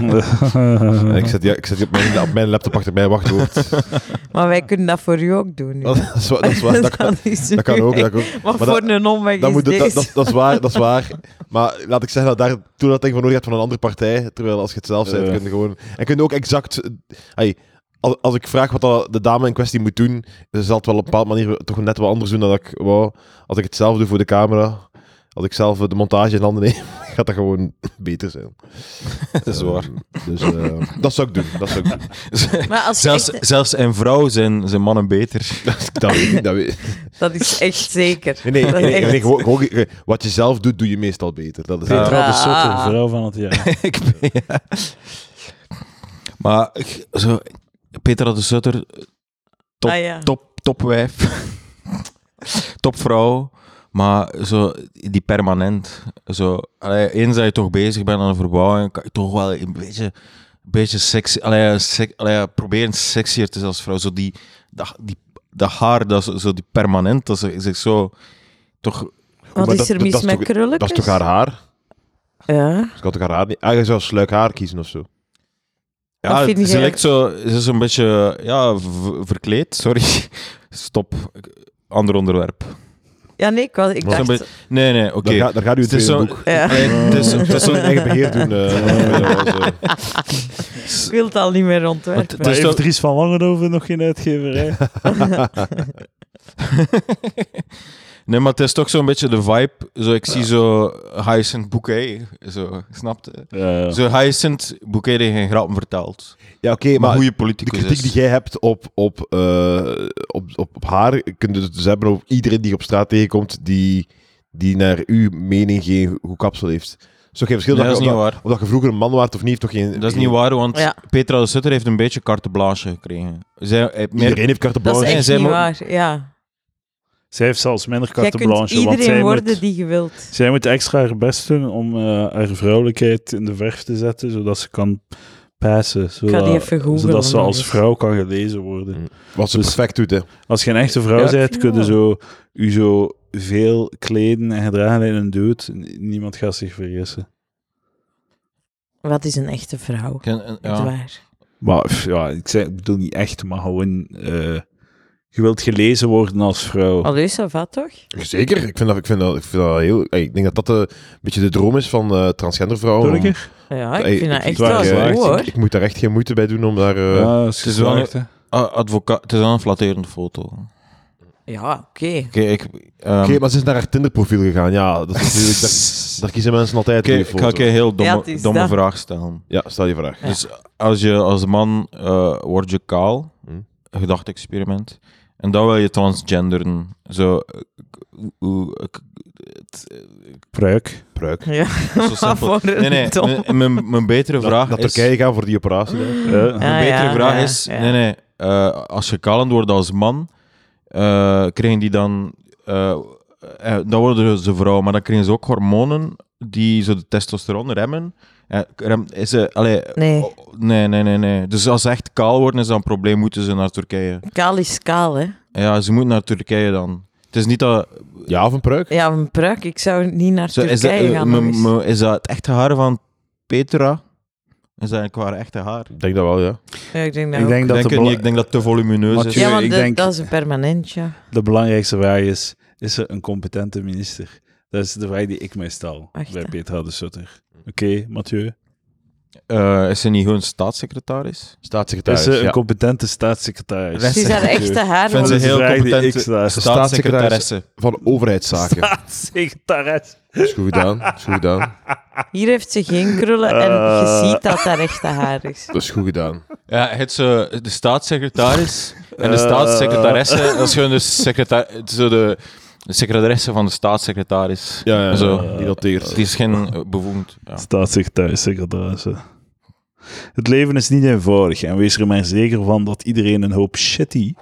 en ik zet die, ik zet die op, mijn, op mijn laptop achter mijn wachtwoord. (laughs)
Maar wij kunnen dat voor u ook doen. nu.
dat, is, wa- dat,
(laughs)
is waar, dat, kan,
is
dat kan
uw
ook.
weg.
Dat kan ook.
Maar,
Maar
voor
dat-
een omweg
Dat,
is
moet, dat,
deze.
dat, dat, is waar, dat is waar. Maar laat ik zeggen dat daar toen dat ding van nodig had van een andere partij. Terwijl als je het zelf bent,
Ja.
kun je gewoon. En kun je ook exact. eh, Hey, als, als ik vraag wat dat de dame in kwestie moet doen, ze zal het wel op een bepaalde manier toch net wel anders doen dan dat ik wou. Als ik het zelf doe voor de camera, als ik zelf eh, de montage in handen neem, (laughs) gaat dat gewoon beter zijn.
Dat is waar.
Eh, Dus eh, dat zou ik doen. Dat zou ik doen.
Maar als
(laughs)
je
Zelfs,
echt-
zelfs in vrouw zijn, zijn mannen beter.
(laughs)
(laughs)
Dat weet ik. Dat weet...
dat is echt zeker.
Nee, nee,
Dat
nee,
is
nee,
echt-
nee, gewoon- gewoon- eh, wat je zelf doet, doe je meestal beter. Dat is
Petra de
Ah.
Sotter, vrouw van het (laughs) jaar.
ik ben, ja. Maar ik- zo, Petra de Sutter, top,
Ah, ja.
top, top wijf. top vrouw. Maar zo, die permanent. Zo, allee, eens dat je toch bezig bent aan een verbouwing, kan je toch wel een beetje, een beetje sexy... Allee, sec, allee, proberen sexier te zijn als vrouw. Zo die, dat, die, dat haar, dat, zo, zo die permanent, dat is is zo... Toch,
Wat
maar
is
dat-
er
dat
mis
is
met
toch-
krulletjes?
dat is toch haar haar?
Ja.
Ze kan toch haar haar niet... Ah, je zou sluik haar kiezen of zo.
Wat
Ja,
vind
ze
jij-
lijkt zo, ze is een beetje ja, v- verkleed, sorry. Stop, ander onderwerp.
Ja, nee, ik, was, ik
Zo'n
dacht...
beetje- Nee, nee, oké.
Daar, ga, daar gaat u het
Het is
tweede
zo-
boek.
Ja.
Allee, het is- het
Dat
is
zou (laughs)
zo-
een eigen beheer doen. eh.
Ik wil het al niet meer
Want
ontwerpen.
Maar
Dus
heeft
dat-
Dries van Langenhoven nog geen uitgeverij?
Nee, maar het is toch zo'n beetje de vibe. Zo, ik zie zo Hyacinth Bouquet, zo, snapte?
(laughs) Ja, ja.
Zo Hyacinth Bouquet die geen grappen vertelt.
ja, oké,
Maar
maar
goede
de
politicus
kritiek
is.
die jij hebt op, op, eh, op, op, op haar, kun je het dus hebben op iedereen die je op straat tegenkomt, die, die naar uw mening geen goed kapsel heeft. Is toch geen verschil
Nee,
of
dat is
je-
niet
of
waar.
Of dat je vroeger een man waart of niet, heeft toch geen...
Dat is niet
geen-
waar, want
Ja.
Petra de Sutter heeft een beetje carte blanche gekregen. Zij heeft meer...
Iedereen heeft carte
Dat is
blanche.
Nee,
echt
zij
niet
moet-
waar, ja.
Zij heeft zelfs minder
Jij
carte
kunt
blanche. Want
iedereen
zij
worden
moet,
die je wilt.
zij moet extra haar best doen om eh, haar vrouwelijkheid in de verf te zetten, zodat ze kan passen. Zodat,
die even googlen,
zodat ze
want
als
anders-
vrouw kan gelezen worden.
Wat ze
Dus-
perfect doet, hè.
Als je een echte vrouw
Ja, ik
bent,
vind
kun je
dat
zo, u zo veel kleden en gedragen in een dude. N- Niemand gaat zich vergissen.
Wat is een echte vrouw?
Ken- en-
Echt
Ja. eh,
waar.
Maar pff, ja, ik, zeg, ik bedoel niet echt, maar gewoon... eh, je wilt gelezen worden als vrouw.
Allee, ça va toch?
Zeker, ik vind dat, ik vind dat, ik vind dat heel... ey, ik denk dat dat eh, een beetje de droom is van eh transgender vrouwen. om-
Tuurlijk.
Ja,
Ey,
Ah, ik vind dat
ik
echt
vind
wel
het
goed
waar,
ik-
echt.
hoor.
Ik, moet daar echt geen moeite bij doen om daar... eh,
ja, het
het is
(laughs)
wel-
geslaagd, hè.
Ah, advocaat, het is wel een flatterende foto. Oké,
Ja, oké.
ik... ehm,
Oké, maar ze is naar haar Tinder-profiel gegaan. Ja, dat
(laughs)
is natuurlijk... daar, daar kiezen mensen altijd
Oké,
voor.
ik ga je een heel
Ja, het
domme,
is
domme
dat.
vraag stellen.
Ja, stel je vraag.
Ja.
Dus als je als man eh word je kaal,
Hm.
gedachte-experiment, en dan wil je transgenderen. Zo, eh, hoe- hoe- ik-
Pruik.
Pruik.
Ja,
zo
(laughs)
simpel.
voor een
Nee, nee,
dom.
mijn- mijn, mijn betere
Naar,
vraag
naar
is...
Turkije gaan voor die operatie. hè.
Ja.
Ah, Ja.
Mijn betere vraag
ja,
is...
ja.
Nee, nee. eh, als je kalend wordt als man, eh krijgen die dan... eh, eh, dan worden ze vrouw, maar dan krijgen ze ook hormonen die zo de testosteron remmen. Eh, rem, is ze, allee,
Nee,
oh, nee, nee, nee, nee. Dus als ze echt kaal worden, is dat een probleem. Moeten ze naar Turkije?
kaal is kaal, hè.
Ja, ze moeten naar Turkije dan. Het is niet dat...
Ja, of een pruik?
Ja, een pruik. Ik zou niet naar
Zo, is, dat,
Turkije
eh,
gaan.
m-
nog eens.
m- is dat het echte haar van Petra? Is dat qua echte haar?
Ik denk dat wel, ja.
Ja, ik denk dat
Ik
ook.
denk dat
Ik denk,
de,
het niet,
bela-
ik denk dat het te volumineus is.
Mathieu,
Ja, maar
ik
dat,
denk-
dat is een permanentje.
de belangrijkste vraag is, is er een competente minister? Dat is de vraag die ik mij stel
Wacht,
bij
hè.
Petra de Sutter. Oké, Mathieu.
Eh, is ze niet gewoon staatssecretaris?
Is
Staatssecretaris.
ze een
ja.
competente staatssecretaris?
Rest-
Het is haar
Mathieu.
echte haar.
Vind
Dat
ze
is de
heel
vraag die
competent.
ik sta-
Staatssecretaresse.
Van overheidszaken.
(laughs) Staatssecretaris.
Is goed gedaan. Is goed gedaan.
Hier heeft ze geen krullen en je ziet dat haar echte haar is.
Dat is goed gedaan.
Ja, het ze de staatssecretaris en de
Eh.
staatssecretaresse. Dat is gewoon de, secreta- zo de, de secretaresse van de staatssecretaris.
Ja, ja,
Zo.
ja. Die dateert.
Die is geen eh, bevoegd. Ja.
Staatssecretaris, secretaris. hè. Het leven is niet eenvoudig en wees er maar zeker van dat iedereen een hoop shitty,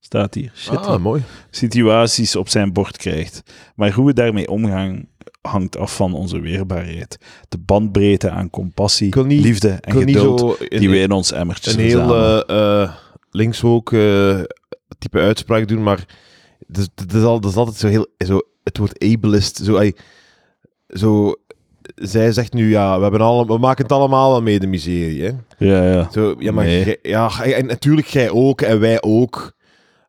staat hier, shitty,
Ah, mooi.
situaties op zijn bord krijgt. Maar hoe we daarmee omgaan hangt af van onze weerbaarheid, de bandbreedte aan compassie,
Ik wil niet-
liefde en
Ik wil niet
geduld
zo
die we
een,
in ons emmertje
een
verzamelen.
heel eh, eh, linkshoek eh, type uitspraak doen, maar het is, het is, al, het is altijd zo heel... Zo, het wordt ableist. Zo, ey, zo, zij zegt nu, ja, we, hebben alle, we maken het allemaal wel mee, de miserie. Hè?
Ja, ja.
Zo, ja, maar
Nee.
jij- ja, gij- en natuurlijk jij ook en wij ook.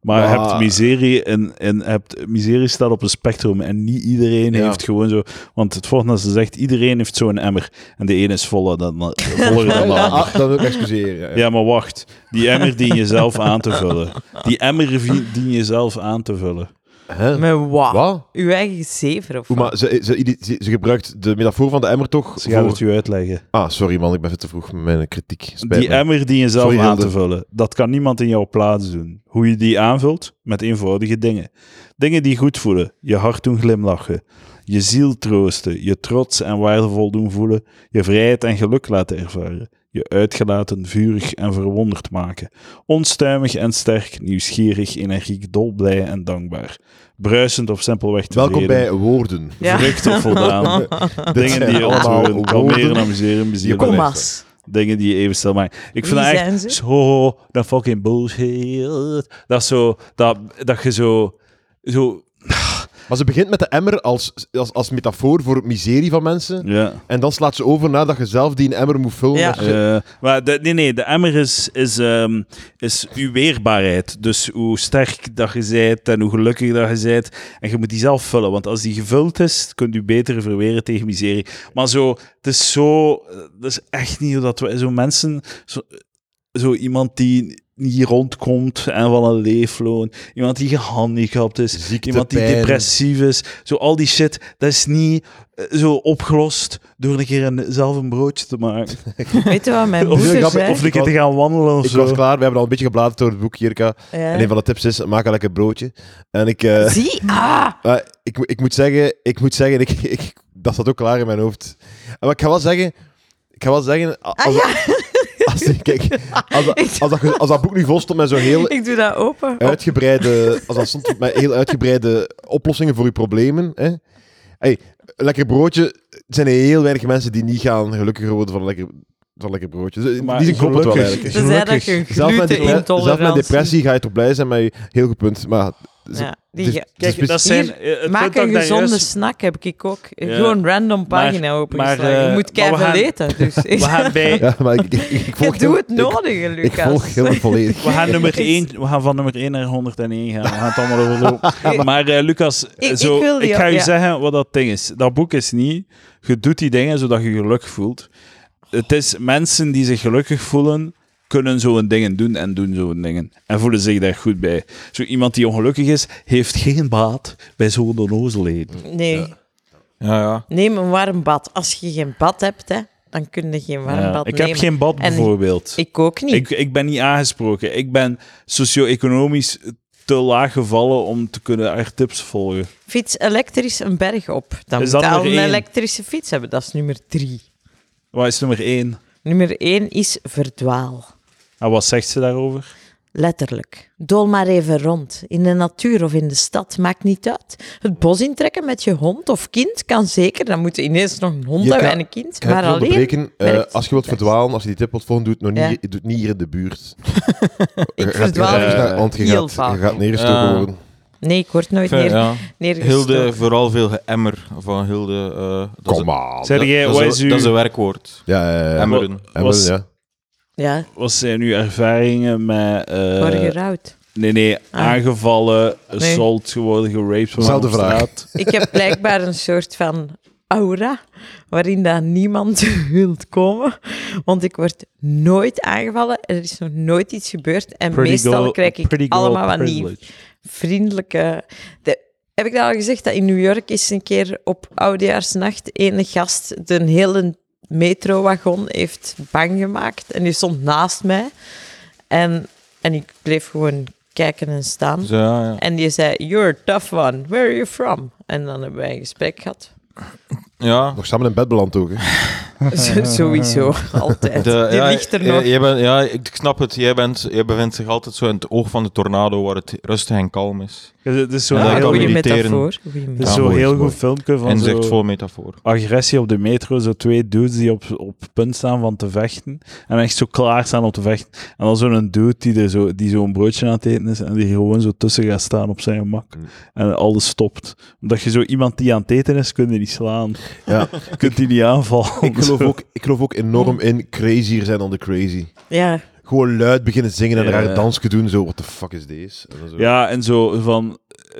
Maar
Maar-
hebt miserie en, en hebt, miserie staat op een spectrum en niet iedereen
Ja.
heeft gewoon zo. Want het volgende als ze zegt, iedereen heeft zo'n emmer en de ene is voller dan,
(laughs)
voller dan de ander.
Ah, dat wil ik excuseren. Ja.
Ja, maar wacht. Die emmer dien je zelf aan te vullen. Die emmer vi- dien je zelf aan te vullen.
Hè?
Met wat?
Wat?
Uw eigen zever of
Oeh,
wat?
maar ze, ze, ide- ze, ze gebruikt de metafoor van de emmer toch?
Ze gaat
voor-
het u uitleggen.
Ah, sorry man, ik ben veel te vroeg met mijn kritiek. Spijt
Die
me.
emmer dien je zelf
Sorry,
aan
Hilde.
te vullen. Dat kan niemand in jouw plaats doen. Hoe je die aanvult? Met eenvoudige dingen. Dingen die goed voelen. Je hart doen glimlachen. Je ziel troosten. Je trots en waardevol doen voelen. Je vrijheid en geluk laten ervaren. Je uitgelaten, vurig en verwonderd maken. Onstuimig en sterk, nieuwsgierig, energiek, dolblij en dankbaar. Bruisend of simpelweg tevreden.
Welkom bij Woorden.
Ja.
Verrukt of voldaan. Dingen die je onthoren, kalmeren, amuseren, bezielen.
Kom maar.
Kommas.
Dingen die je even stil maken. Ik
Wie
vind dat
zijn
echt
ze?
zo, dat fucking bullshit. Dat is zo, dat, dat je zo, zo,
Maar ze begint met de emmer als, als, als metafoor voor miserie van mensen.
ja.
En dan slaat ze over naar dat je zelf die emmer moet vullen.
Ja.
met shit.
Eh, maar de, nee, nee, de emmer is, is, ehm, is uw weerbaarheid. Dus hoe sterk dat je bent en hoe gelukkig dat je bent. En je moet die zelf vullen, want als die gevuld is, kunt u beter verweren tegen miserie. Maar zo, het is zo, eh, dat is echt niet hoe dat we, zo mensen, zo, zo iemand die niet rondkomt en van een leefloon, iemand die gehandicapt is,
Ziekte,
iemand die
pijn.
depressief is, zo al die shit, dat is niet eh, zo opgelost door een keer een, zelf een broodje te maken.
(laughs) Weet je wat mijn
Of,
moeder
grap-
zei?
of een keer te gaan wandelen of
Ik
zo.
was klaar, we hebben al een beetje gebladerd door het boek, Jirka.
Ja.
En een van de tips is, maak een lekker broodje. En ik, eh,
Zie, ah!
(laughs) eh, ik, moet- ik moet zeggen, ik moet zeggen ik, ik, dat staat ook klaar in mijn hoofd. Eh, Maar ik ga wel zeggen, ik ga wel zeggen... a- Als,
Ah ja,
(laughs) als, kijk,
(laughs)
als, dat- als, dat, ge- als dat boek nu vol stond met zo'n heel
ik doe dat open.
uitgebreide, als dat stond met heel uitgebreide oplossingen voor je problemen. Hè? Hey, een lekker broodje. Er zijn heel weinig mensen die niet gaan gelukkiger worden van een lekker, van een lekker broodje. Dus in
Maar
die zin klopt het wel
gelukkig-
eigenlijk.
Ze zei dat je
Gelukkig.
Zelf met, depre-
gluten-intolerantie...
zelf met depressie ga je toch blij zijn, maar je- heel goed punt. Maar Ze-
Ja, die
dus-
ge-
dus
Kijk, dat
bes-
zijn...
Hier,
eh, het
Maak
punt dat
een
ik daar
gezonde
juist-
snack heb ik ook.
Ja.
Gewoon random pagina opengeslagen.
maar, eh,
je moet
maar we
keihard
gaan-
eten. Dus.
(laughs) We
(laughs)
gaan bij...
Ja, maar ik, ik, ik volg
je doet het
heel-
nodige,
Ik, ik
Lucas.
volg heel volledig.
We gaan, nummer één, we gaan van nummer 1 naar 101 gaan. We gaan het allemaal
(laughs)
overlopen. Maar eh, Lucas,
ik
zo, ik,
wil die
ga
ook,
je
ja.
zeggen wat dat ding is. Dat boek is niet... Je doet die dingen zodat je gelukkig voelt. Het is mensen die zich gelukkig voelen, kunnen zo'n dingen doen en doen zo'n dingen. En voelen zich daar goed bij. Zo iemand die ongelukkig is, heeft geen baat bij zo'n onnozelheden.
Nee,
Ja, ja.
neem een warm bad. Als je geen bad hebt, hè, dan kun je geen warm
Ja,
bad
ik
nemen.
heb geen bad,
En-
bijvoorbeeld.
Ik ook niet.
Ik, ik ben niet aangesproken. Ik ben socio-economisch te laag gevallen om te kunnen echt tips volgen.
Fiets elektrisch een berg op. Dan
Is
moet
dat
je al
nummer
een
één?
elektrische fiets hebben. Dat is nummer drie.
Wat is nummer één?
Nummer één is verdwaal.
En wat zegt ze daarover?
Letterlijk. Dool maar even rond. In de natuur of in de stad, maakt niet uit. Het bos intrekken met je hond of kind kan zeker. Dan moet je ineens nog een hond
Je
hebben
kan-
en een kind.
Kan ik
Maar
je
alleen...
onderbreken? Eh,
werkt.
als je wilt verdwalen, als je die tip wilt volgen, doe het, nog niet,
Ja.
doe het niet hier in de buurt.
Ik
Je gaat-
verdwaal
je gaat-
echt
Want je
heel
gaat,
vaak.
je gaat neergestoken
Ja.
worden.
Nee, ik word nooit
Enfin,
neer,
ja.
neergestoken.
Hilde, vooral veel geëmmer van Hilde. eh dat is-
Kom aan.
Zeg jij,
dat,
wat
is
is
een- dat is een
uw,
werkwoord.
Ja, ja, ja, ja.
Emmeren.
En
was-
wel, ja.
Ja,
wat zijn uw ervaringen met... eh,
word gerouwd.
nee, nee, aangevallen,
Ah. Nee.
assault geworden, geraped van
Zelfde
op straat?
Ik heb blijkbaar een soort van aura waarin dat niemand (laughs) wilt komen. Want ik word nooit aangevallen. Er is nog nooit iets gebeurd. En
Pretty
meestal
girl-
krijg ik
pretty girl
allemaal wat nieuw.
privilege.
vriendelijke. De- heb ik daar al gezegd dat in New York is een keer op oudejaarsnacht ene gast de hele metrowagon heeft bang gemaakt en die stond naast mij en, en ik bleef gewoon kijken en staan.
Dus, ja, ja.
En die zei, you're a tough one, where are you from? En dan hebben wij een gesprek gehad.
ja.
Nog samen in bed beland ook. hè.
Zo- Sowieso, altijd.
De-
die
ja,
ligt er
j-
nog.
jij bent- ja, ik snap het. Jij, bent, jij bevindt zich altijd zo in het oog van de tornado waar het rustig en kalm is.
Dus Het is zo'n
Ja,
Ja,
dat kan
goeie
heel,
me irriteren.
metafoor. goeie
het
metafoor.
is
Ja,
zo'n
mooi,
heel
mooi.
goed filmpje van zo-
Inzichtvol metafoor.
agressie op de metro. Zo twee dudes die op, op het punt staan van te vechten. En echt zo klaar staan om te vechten. En dan zo'n dude die, er zo, die zo'n broodje aan het eten is. En die gewoon zo tussen gaat staan op zijn gemak.
Mm.
En alles stopt. Omdat je zo iemand die aan het eten is, kun je niet slaan.
(laughs) Ja.
Je kunt die niet aanvallen.
(laughs) Ik geloof, ook, ik geloof ook enorm in crazier zijn dan de crazy.
Ja,
Gewoon luid beginnen zingen en een
Ja.
rare dansje doen. Zo, what the fuck is this? En dan zo.
Ja, en zo, van,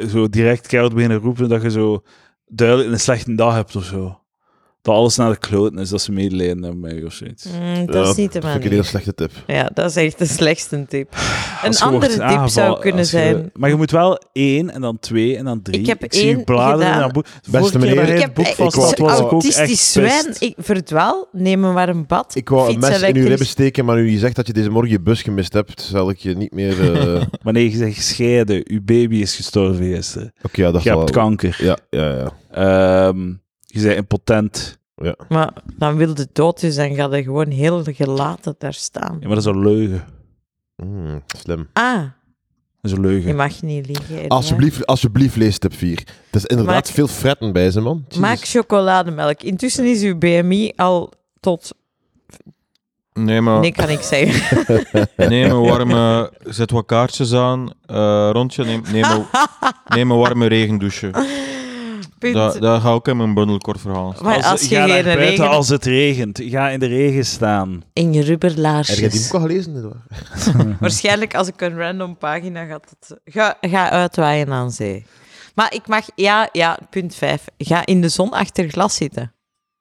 zo direct keihard beginnen roepen dat je zo duidelijk een slechte dag hebt of zo. Dat alles naar de kloten is, dat ze medelijden hebben met je of zoiets.
mm, dat
Ja,
is niet de
Dat vind ik een
manier.
heel slechte tip.
Ja, dat is echt de slechtste tip. Een
(sighs) Als je wordt
andere tip zou
aangevallen,
kunnen
als je-
zijn.
maar je moet wel één en dan twee en dan drie.
Ik heb
zie
één
je bladeren
gedaan.
in dat boek. De
Beste
vorige keer
meneer,
dat jij
Ik
het boek
ik
vast
wou-
had, was ik ook echt
autistisch zwijn.
pest.
Ik verdwaal, neem me maar een bad.
Ik wou een
fiets
mes in uw
elektrisch.
ribben steken, maar nu je zegt dat je deze morgen je bus gemist hebt, zal ik je niet meer... eh, (laughs) Oké,
Wanneer je zegt scheiden, uw baby is gestorven gisteren.
ja, dat
Je
zal
hebt
wel.
kanker.
Ja, ja, ja.
Ehm, je bent impotent.
Maar dan wil de dood dus, dan gaat hij gewoon heel gelaten daar staan.
Ja, maar dat is een leugen.
Mm, slim.
Ah,
Dat is een
je
leugen.
mag niet liegen. Edouard.
Alsjeblieft, alsjeblieft lees tip 4. Het is inderdaad
Maak-
veel fretten bij ze, man. Jezus.
Maak chocolademelk. Intussen is uw BMI al tot...
Neem
Ah.
maar
Nee, kan ik zeggen. (laughs)
Neem een warme, zet wat kaartjes aan, eh, rondje, neem, neem,
(laughs)
een, neem een warme regendouche.
Punt.
Dat, dat ga ik in mijn bundelkort verhaal.
maar als, je
ga
geen
naar buiten
regen...
als het regent. Ga in de regen staan.
In je
Heb jij die
rubberlaarsjes.
boek al gelezen? Edouard? Hm.
Waarschijnlijk als ik een random pagina ga, dat, ga, ga uitwaaien aan zee. Maar ik mag, ja, ja, punt 5. Ga in de zon achter glas zitten.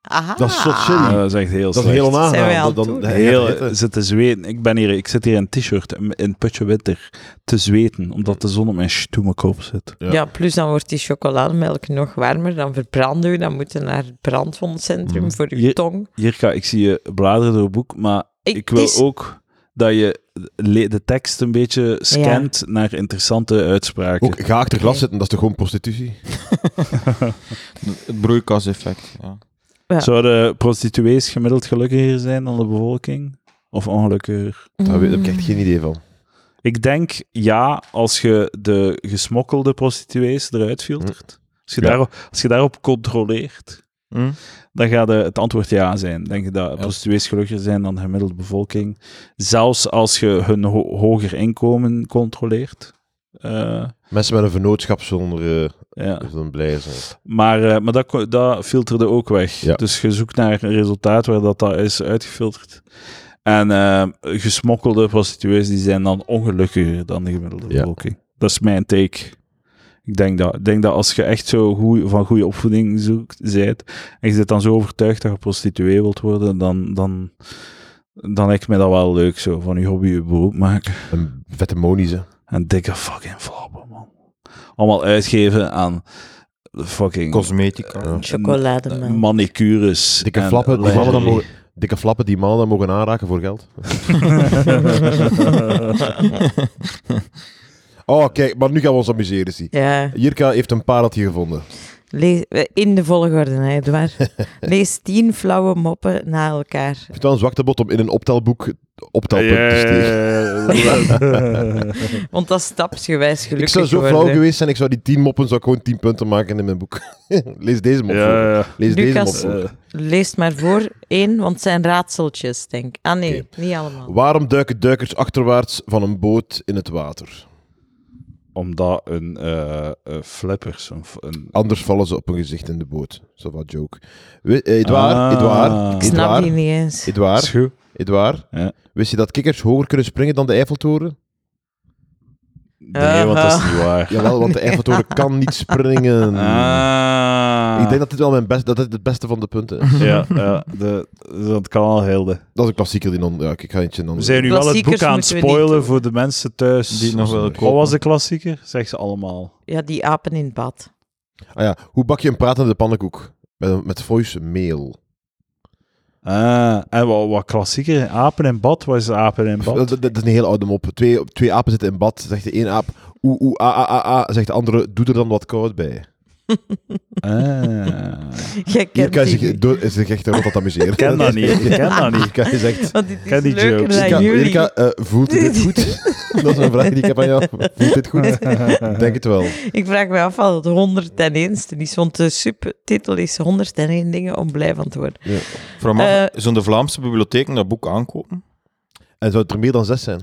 Aha.
Dat is zo chill.
Ah, dat is echt heel
Dat is
slecht.
heel
Zijn wij aan
onaangenaam.
het
Dan,
doen?
dan,
Heel, zit te zweten. Ik, ben hier, ik zit hier in een t-shirt, in een putje witter, te zweten, omdat de zon op mijn stoeme kop zit.
Ja.
Ja. plus dan wordt die chocolademelk nog warmer. Dan verbranden u. Dan moeten naar het brandwondcentrum
Mhm.
voor uw
Je-
tong.
Hier ga ik zie je bladeren door het boek, maar ik, wil
het is-
ook dat je le- de tekst een beetje scant naar interessante uitspraken.
Ook, ga achter glas zitten, dat is toch gewoon prostitutie?
Het broeikaseffect. Ja.
Ja.
Zouden prostituees gemiddeld gelukkiger zijn dan de bevolking? Of ongelukkiger?
Daar weet- daar heb ik echt geen idee van.
Ik denk ja, als je de gesmokkelde prostituees eruit filtert. Als je,
Ja.
daarop, als je daarop controleert.
Hm?
dan gaat eh, het antwoord ja zijn. Denk je dat prostituees gelukkiger zijn dan de gemiddelde bevolking? Zelfs als je hun ho- hoger inkomen controleert? Eh,
Mensen met een vernootschap zullen er
ja.
eh, zullen blij zijn.
Maar, eh, maar dat, ko- dat filterde ook weg.
Ja.
Dus je zoekt naar een resultaat waar dat, dat is uitgefilterd. En eh, gesmokkelde prostituees die zijn dan ongelukkiger dan de gemiddelde
Ja.
bevolking. Dat is mijn take. Ik denk dat, ik denk dat als je echt zo goeie, van goede opvoeding zoekt, zijt, en je zit dan zo overtuigd dat je prostituee wilt worden, dan, dan, dan lijkt me dat wel leuk zo. Van je hobby je beroep maken.
Een vette monies, hè.
En dikke fucking flappen, man. Allemaal uitgeven aan fucking
Cosmetica. (laughs)
Ja.
eh,
Chocolademelk.
manicures.
Dikke
en
flappen, die mannen, dan
lingerie. (laughs)
mogen, dikke flappen die mannen dan mogen aanraken voor geld. Oh, kijk, maar nu gaan we ons amuseren, zie.
Ja,
Jirka heeft een pareltje gevonden.
lees, eh, in de volgorde, hè, Edouard.
(laughs)
Lees tien flauwe moppen na elkaar.
Ik vind het wel een zwakte bot om in een optelboek optelpunt te
(laughs)
steken.
Yeah.
Want dat is stapsgewijs
Ik
gelukkig
zou zo
worden.
flauw geweest zijn, ik zou die 10 moppen, zou ik gewoon 10 punten maken in mijn boek. (laughs) Lees deze mop voor.
ja,
Lees
Lucas,
deze mop voor.
eh,
Lees maar voor één, want het zijn raadseltjes, denk ik. Ah nee, niet allemaal.
Waarom duiken duikers achterwaarts van een boot in het water?
omdat een eh eh, flippers... Een, f- een,
Anders vallen ze op hun gezicht in de boot. Zo wat joke. We, eh, Edouard,
Ah.
Edouard,
Ik
Ik snap
Edouard,
die niet eens.
is
Edouard,
goed.
Edouard.
Ja.
Wist je dat kikkers hoger kunnen springen dan de Eiffeltoren?
Nee, want dat is niet waar.
Jawel,
(laughs)
want de Eiffeltoren kan niet springen.
Ah.
Ik denk dat dit wel mijn best, dat dit het beste van de punten is.
Ja, ja de, dat kan al heel de.
Dat is een klassieker die non... Ja, ik ga eentje non...
We zijn nu wel het boek
Klassiekers
aan het
moeten we niet
spoilen
doen.
voor de mensen thuis.
Die het nog wel
Wat
kopen.
was de klassieker? Zeg ze allemaal.
Ja, die apen in het bad. (laughs)
Ah ja, hoe bak je een pratende pannenkoek? Met, een- met voice mail.
Ah, en wat, wat klassieker? Apen in bad? Wat is apen in
Dat,
bad?
dat- dat is een heel oude mop. Twee, twee apen zitten in bad. Zegt de één aap, ah, oe oe a a a a. Zegt de andere, doe er dan wat koud bij.
Ah.
Jij
Hier
kent
kan je
die.
zich, door- zich echt rond dat amuseren.
Ik ken dat niet.
(laughs)
Ik ken dat niet.
Kan je
(laughs)
zegt...
Want dit is
Ken die
leuker
jokes.
dan
Irka,
jullie.
Irka, eh, voelt u dit
(laughs)
goed? dat is een vraag die ik heb aan jou. Voelt dit goed? Ik Denk het wel.
Ik vraag me af wat het 101ste is, want de subtitel is 101 dingen om blij van te worden.
Vraag me af,
Eh.
Zullen de Vlaamse bibliotheken dat boek aankopen?
En zou het er meer dan zes zijn?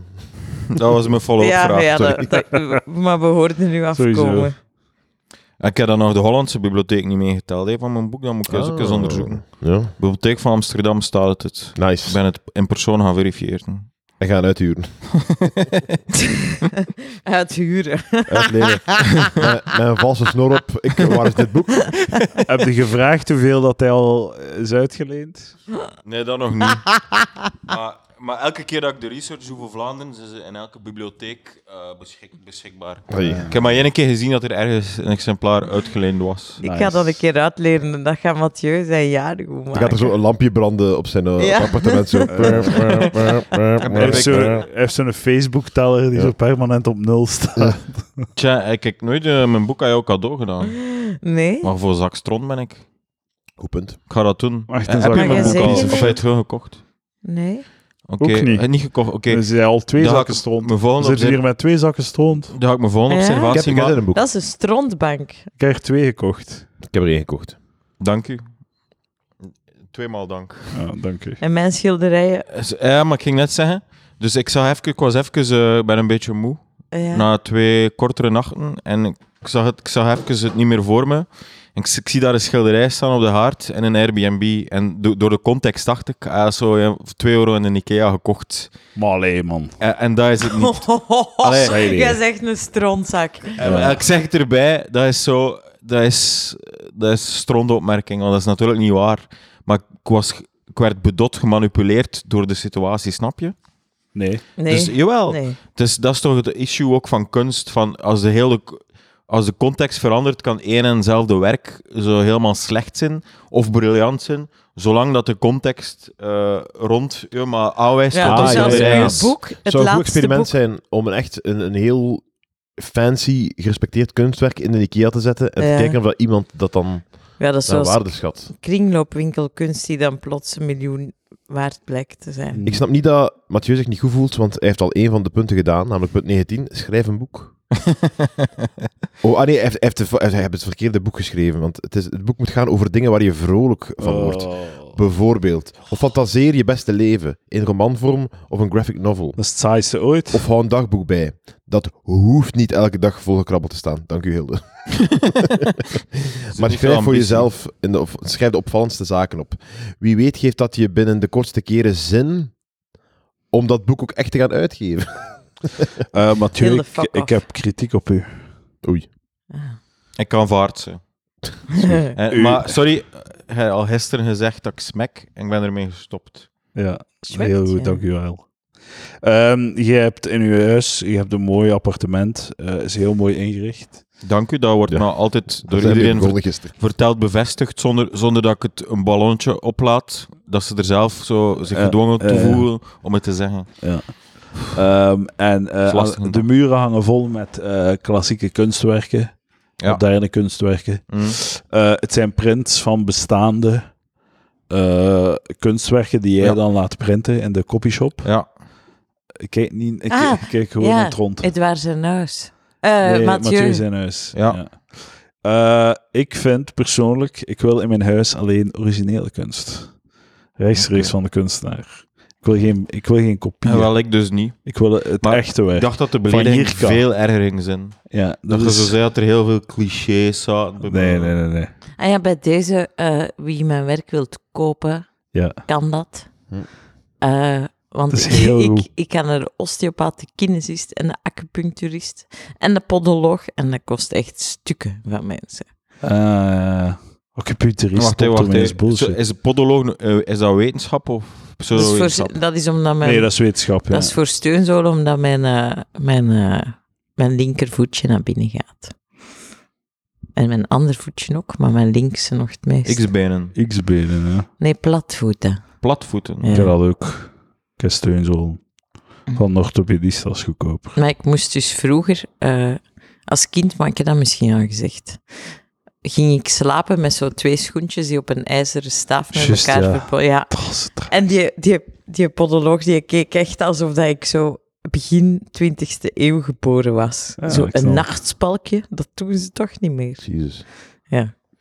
Dat was mijn follow-up
(laughs) ja,
vraag.
ja
sorry.
dat,
(laughs)
dat- maar we hoorden nu afkomen.
Sowieso.
Ik heb dan nog de Hollandse bibliotheek niet meegeteld hè, van mijn boek. Dat moet ik eens ook eens
Ah.
onderzoeken.
Ja,
Bibliotheek van Amsterdam staat het. het. Ik
nice.
ben het in persoon gaan verifiëren.
En gaan uithuren.
Uithuren. (laughs)
Uitlenen. met, met een valse snor op. Ik, waar is dit boek?
Heb je gevraagd hoeveel dat hij al is uitgeleend?
Nee, dat nog
(laughs)
niet. maar, maar elke keer dat ik de research doe voor Vlaanderen, zijn ze in elke bibliotheek eh, beschik- beschikbaar.
Ah,
Hey.
Ik heb maar één keer gezien dat er ergens een exemplaar uitgeleend was.
Ik ga dat een keer uitleren en dat gaat Mathieu zijn jarig goed
Er gaat er
maken.
zo een lampje branden op zijn eh, op
Ja.
het appartement. Zo.
Hij heeft zo-
Ja. eh,
hij heeft zo'n Facebook-teller die
Ja.
zo permanent op nul staat.
Tja, ik heb nooit eh, mijn boek aan jou cadeau gedaan.
Nee?
Maar voor Zak Stront ben ik.
Goed punt.
Ik ga dat doen.
Wacht,
Eh,
dan
heb
zal
je
ik
mijn
maar
boek al? Of
zeker
heb je het gewoon gekocht?
Nee?
Oké,
Ook niet.
eh, niet gekocht. Oké,
Dus hij al twee
dan ga
zakken
ik
stront.
mijn
We
volgende,
zitten
observ-
hier met twee zakken stront.
dan ga ik mijn volgende
Ja?
Ik heb,
observatie
ik heb
maken.
er een boek.
Dat is een strontbank.
Ik heb er twee gekocht.
Ik heb er één gekocht.
Dank u. Tweemaal dank.
Ja, dank u.
En mijn schilderijen...
Eh, Ja, maar ik ging net zeggen. Dus ik, zag even, ik was even, eh, ben een beetje moe.
eh, Ja.
Na twee kortere nachten. En ik zag, het, ik zag even het niet meer voor me. En ik, ik zie daar een schilderij staan op de haard en een Airbnb. En do- door de context dacht ik, ah, zo ja, voor 2 euro in een Ikea gekocht.
Maar allee, man.
En, en dat is het niet.
(laughs)
Allee.
Zij
Jij
die.
zegt een strontzak.
En Ik zeg het erbij, dat is zo... Dat is, dat is strondopmerking, want dat is natuurlijk niet waar. Maar ik, was, ik werd bedot gemanipuleerd door de situatie, snap je?
Nee.
Nee.
Dus jawel.
nee.
Dus dat is toch het issue ook van kunst, van als de hele... Als de context verandert, kan één en hetzelfde werk zo helemaal slecht zijn of briljant zijn, zolang dat de context eh, rond je maar aanwijst
Ja,
wat
Ah,
dus
dat
zelfs
ja,
schilderij
ja, ja.
uw
is.
(laughs)
(laughs)
boek,
Het
het
zou een goed
laatste
experiment
boek...
zijn om een echt een, een heel fancy, gerespecteerd kunstwerk in een IKEA te zetten en
Ja.
te kijken of dat iemand dat dan
Ja, dat is
naar
zoals
waarde schat.
kringloopwinkelkunst die dan plots een miljoen waard blijkt te zijn.
Ik snap niet dat Mathieu zich niet goed voelt, want hij heeft al één van de punten gedaan, namelijk punt 19, schrijf een
(laughs)
boek. oh, ah nee, hij
Oh.
heeft, hij heeft de- hij heeft het verkeerde boek geschreven, want het, is, het boek moet gaan over dingen waar je vrolijk van wordt.
Oh.
Bijvoorbeeld. Of fantaseer je beste leven in romanvorm of een graphic novel.
Dat is het saaiste ooit.
Of hou een dagboek bij. Dat hoeft niet elke dag volgekrabbeld te staan. Dank u, Hilde.
(laughs) Dus
Maar schrijf voor jezelf, in de, of schrijf de opvallendste zaken op. Wie weet geeft dat je binnen de kortste keren zin om dat boek ook echt te gaan (laughs) uitgeven.
Eh Mathieu,
Heel de
ik,
fuck
ik
off.
heb kritiek op u.
Oei.
Ik kan vaart ze.
Ah.
Eh,
U-
Maar sorry, eh, jij al gisteren gezegd dat ik smek en ik ben ermee gestopt.
Ja,
Zwet,
heel goed,
ja.
dankjewel. Ehm je hebt in je huis, je hebt een mooi appartement, eh, is heel mooi ingericht.
Dank u, dat wordt
Ja.
nou altijd door
Daar zijn we
iedereen ver-
begonnen gisteren.
verteld bevestigd, zonder, zonder dat ik het een ballonnetje oplaat. Dat ze er zelf zo zich
Ja,
gedwongen toe
eh,
voelen om het te zeggen.
Ehm, en eh,
is lastig,
aan-
hè?
de muren hangen vol met eh, klassieke kunstwerken,
Ja.
moderne kunstwerken.
Mm.
Eh, het zijn prints van bestaande eh, kunstwerken die jij
Ja.
dan laat printen in de copyshop.
Ja.
Ik kijk, niet, ik,
Ah,
ik kijk gewoon
ja.
aan het rond.
(laughs) Edouard zijn huis. Eh
Nee,
Mathieu.
Mathieu zijn huis.
Ja.
Eh, ik vind persoonlijk, ik wil in mijn huis alleen originele kunst. Rechtstreeks van de kunstenaar. Ik wil geen, ik wil geen kopie.
En wel, ik dus niet.
ik wil het
Maar
echte
Ik
werk.
dacht dat de
hier
beledigingen
kan.
veel erger gingen zijn.
ja,
Dat, dus-
dat
je zo
is...
zei dat er heel veel clichés zaten. bij
Nee,
mij.
nee, nee, nee.
Ah ja, bij deze, eh, wie mijn werk wilt kopen,
Ja.
kan dat.
Hm.
Eh, want
Dat is heel goed.
ik, ik kan er de osteopaat, de kinesist en de acupuncturist en de podoloog. En dat kost echt stukken van mensen.
Uh, computerist
Wacht,
wacht,
even,
is
wacht, even. Zo,
bullshit.
is de podoloog, eh, is dat wetenschap of
Dat is,
pseudo-wetenschap?
voor, dat is omdat mijn...
Nee, dat is wetenschap, ja.
Dat is voor steunzolen, omdat mijn, eh, mijn, eh, mijn linkervoetje naar binnen gaat. En mijn ander voetje ook, maar mijn linkse nog het meest.
X-benen,
X-benen, hè.
Nee, platvoeten.
platvoeten.
Ik
Ja.
heb dat ook. Ik heb steunzolen. Van orthopedist als goedkoper.
Maar ik moest dus vroeger, eh, als kind, maar ik heb dat misschien al gezegd, ging ik slapen met zo twee schoentjes die op een ijzeren staaf met
Juist,
elkaar
ja.
verbonden. Ja.
Dat is het.
En die, die, die podoloog die keek echt alsof dat ik zo begin 20e eeuw geboren was.
Ja,
zo
ik snap.
een nachtspalkje, dat doen ze toch niet meer.
Jezus.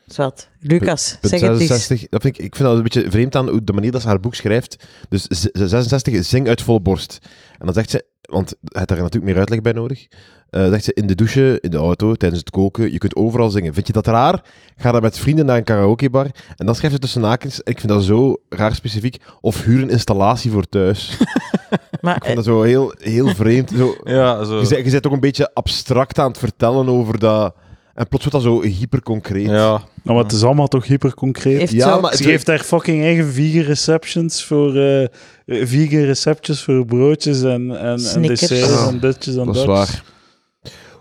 Zwat. Lucas,
Punt
zeg het eens.
66, dat vind ik, ik vind dat een beetje vreemd aan hoe- de manier dat ze haar boek schrijft. Dus z- z- 66, is zing uit volle borst. En dan zegt ze, want het had daar natuurlijk meer uitleg bij nodig. eh, zegt ze, in de douche, in de auto, tijdens het koken, je kunt overal zingen. Vind je dat raar? Ga dan met vrienden naar een karaokebar. En dan schrijft ze tussen haakjes, ik vind dat zo raar specifiek, of huur een installatie voor thuis. (laughs) ik
Maar,
vind
eh,
dat zo heel, heel vreemd. Zo,
Ja, zo.
je, zet, je zet ook een beetje abstract aan het vertellen over dat... En plots wordt dat zo hyperconcreet.
Ja.
Nou, maar het is allemaal toch hyperconcreet.
heeft
Ja,
zo-
maar-
Ze geeft daar fucking eigen vegan receptions voor, eh, eh, vegan receptjes voor broodjes en, en, en
Snickers.
desserts
Ja,
en ditjes en
Dat
datjes.
is waar.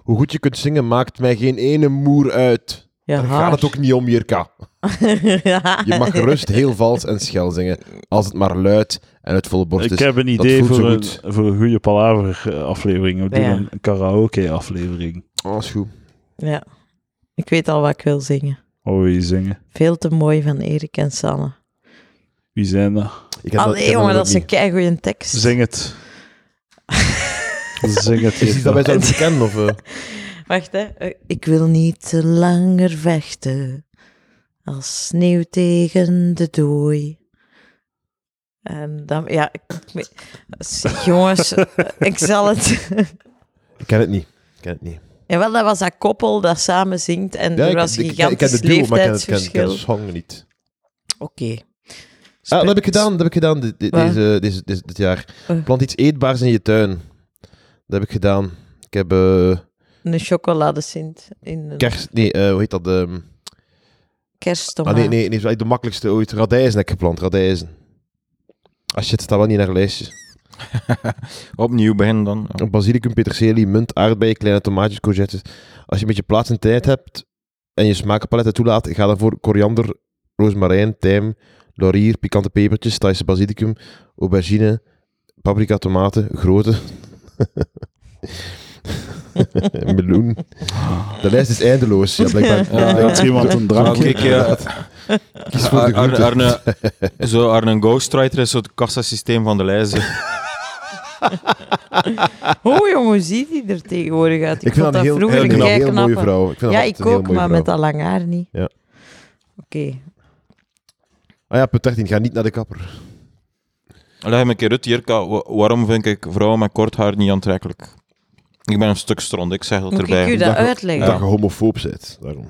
Hoe goed je kunt zingen maakt mij geen ene moer uit.
ja,
Daar
haar.
gaat
(laughs)
het ook niet om, Jirka. Je mag gerust heel vals en schel zingen, als het maar luid en uit volle borst
Ik
is.
heb een idee
voelt zo
voor een,
goed.
voor een goede palaver-aflevering. We doen
Ja.
een karaoke-aflevering.
Oh, is goed.
Ja. Ik weet al wat ik wil zingen.
Oh, wie zingen?
Veel te mooi van Erik en Sanne.
Wie zijn dat?
Ik ken ik
Allee,
ken
Ah, jongen,
ook
dat is een
niet.
keigoeie tekst.
Zing het. Zing
(laughs)
het.
Is iets dat wij zouden moeten kennen? Of, eh?
(laughs) Wacht, hè. Eh, Ik wil niet te langer vechten als sneeuw tegen de dooi. En dan... Ja, ik, ik- Zeg,
(laughs)
jongens, eh, ik zal het...
Ik ken het niet. Ik ken het niet.
Jawel, dat was dat koppel dat samen zingt en
Ja,
er
ik,
was
ik-
een
ik, ken- ik ken
gigantisch
de duo, maar ik ken, het- ik ken, ik ken
leeftijdsverschil.
de song niet.
Oké.
Ah, dat heb ik gedaan, dat heb ik gedaan dit, dit-
Waar?
deze, deze, deze- dit jaar.
Eh.
Plant iets eetbaars in je tuin. Dat heb ik gedaan. Ik heb... eh,
Een chocoladesint in een
kerst... Nee, eh, hoe heet dat? ehm,
kersttomaat.
Ah, nee, nee, nee, dat is eigenlijk de makkelijkste ooit. Radijzen heb ik geplant, radijzen. Als je het staat wel niet naar een lijstje.
Opnieuw beginnen dan. Ja.
Basilicum, peterselie, munt, aardbeien, kleine tomaatjes, courgettes. Als je een beetje plaats en tijd hebt en je smakenpaletten toelaat, ga dan voor koriander, rozemarijn, tijm, laurier, pikante pepertjes, Thaise basilicum, aubergine, paprika, tomaten, grote. (laughs) Meloen. De lijst is eindeloos. Ja, blijkbaar.
Ja,
Had er iemand een
Zou
drankje?
ik, eh,
Kies voor
Ar-
de groente.
Arne, zo Arne Ghostwriter is zo het kassasysteem van de lijzen.
Oh jongen, hoe ziet die er tegenwoordig uit? Ik,
Ik vind
vond
dat
dat
een heel,
vroeger
heel,
een
heel,
kei
mooie
knappe.
vrouw. Ik vind dat
Ja,
altijd
ik
een heel
ook,
mooie
maar
vrouw.
met dat lang haar niet.
Ja.
Oké.
Ah ja, punt 13. Ga niet naar de kapper.
Leg me een keer uit, Jirka. wa- Waarom vind ik vrouwen met kort haar niet aantrekkelijk? Ik ben een stuk stront, ik zeg dat
Moet
erbij.
ik u dat
Dag-
uitleggen?
Dat je homofoob bent. Daarom.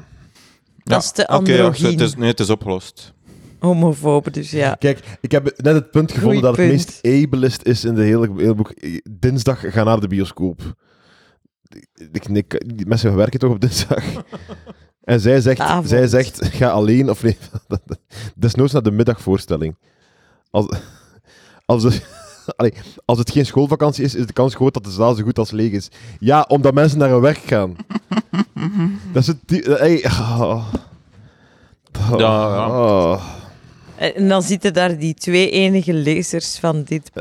Dat is te
oké, ja,
androgyn.
het is, nee, het is opgelost.
Homofobe, dus ja.
Kijk, ik heb net het punt gevonden dat het
punt.
meest ableist is in de hele, hele boek. Dinsdag ga naar de bioscoop. Ik, ik, die mensen werken toch op
(laughs)
dinsdag? En zij
De
zegt,
avond.
zij zegt ga alleen, of nee, (laughs) desnoods naar de middagvoorstelling. Als, als, het, (laughs) allee, als het geen schoolvakantie is, is de kans groot dat de zaal zo goed als leeg is. Ja, omdat mensen naar hun werk
(laughs)
gaan. dat is het... die- Hey, ah. Ah.
Ja, ja.
Ah.
Eh, En en dan zitten daar die twee enige lezers van dit.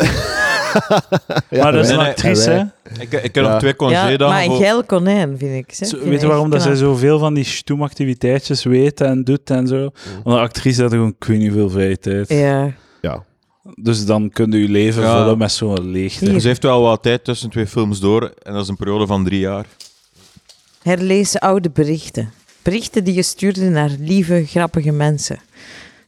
Ja,
maar dat is
wij-
een
nee,
actrice,
wij-
hè?
Ik, ik heb
Ja.
nog twee
Ja,
congédagen
maar een
voor...
geil konijn, vind ik.
Zo- weet je waarom dat zij zoveel van die stoemactiviteitjes weet en doet en zo? Want een actrice had gewoon ik weet niet veel vrije tijd.
Mm. Ja.
Ja.
Dus dan kun je je leven
Ja.
vullen met zo'n leegte.
Hier.
Ze heeft wel wat tijd tussen twee films door en dat is een periode van drie jaar.
Herlezen oude berichten. Berichten die je stuurde naar lieve, grappige mensen.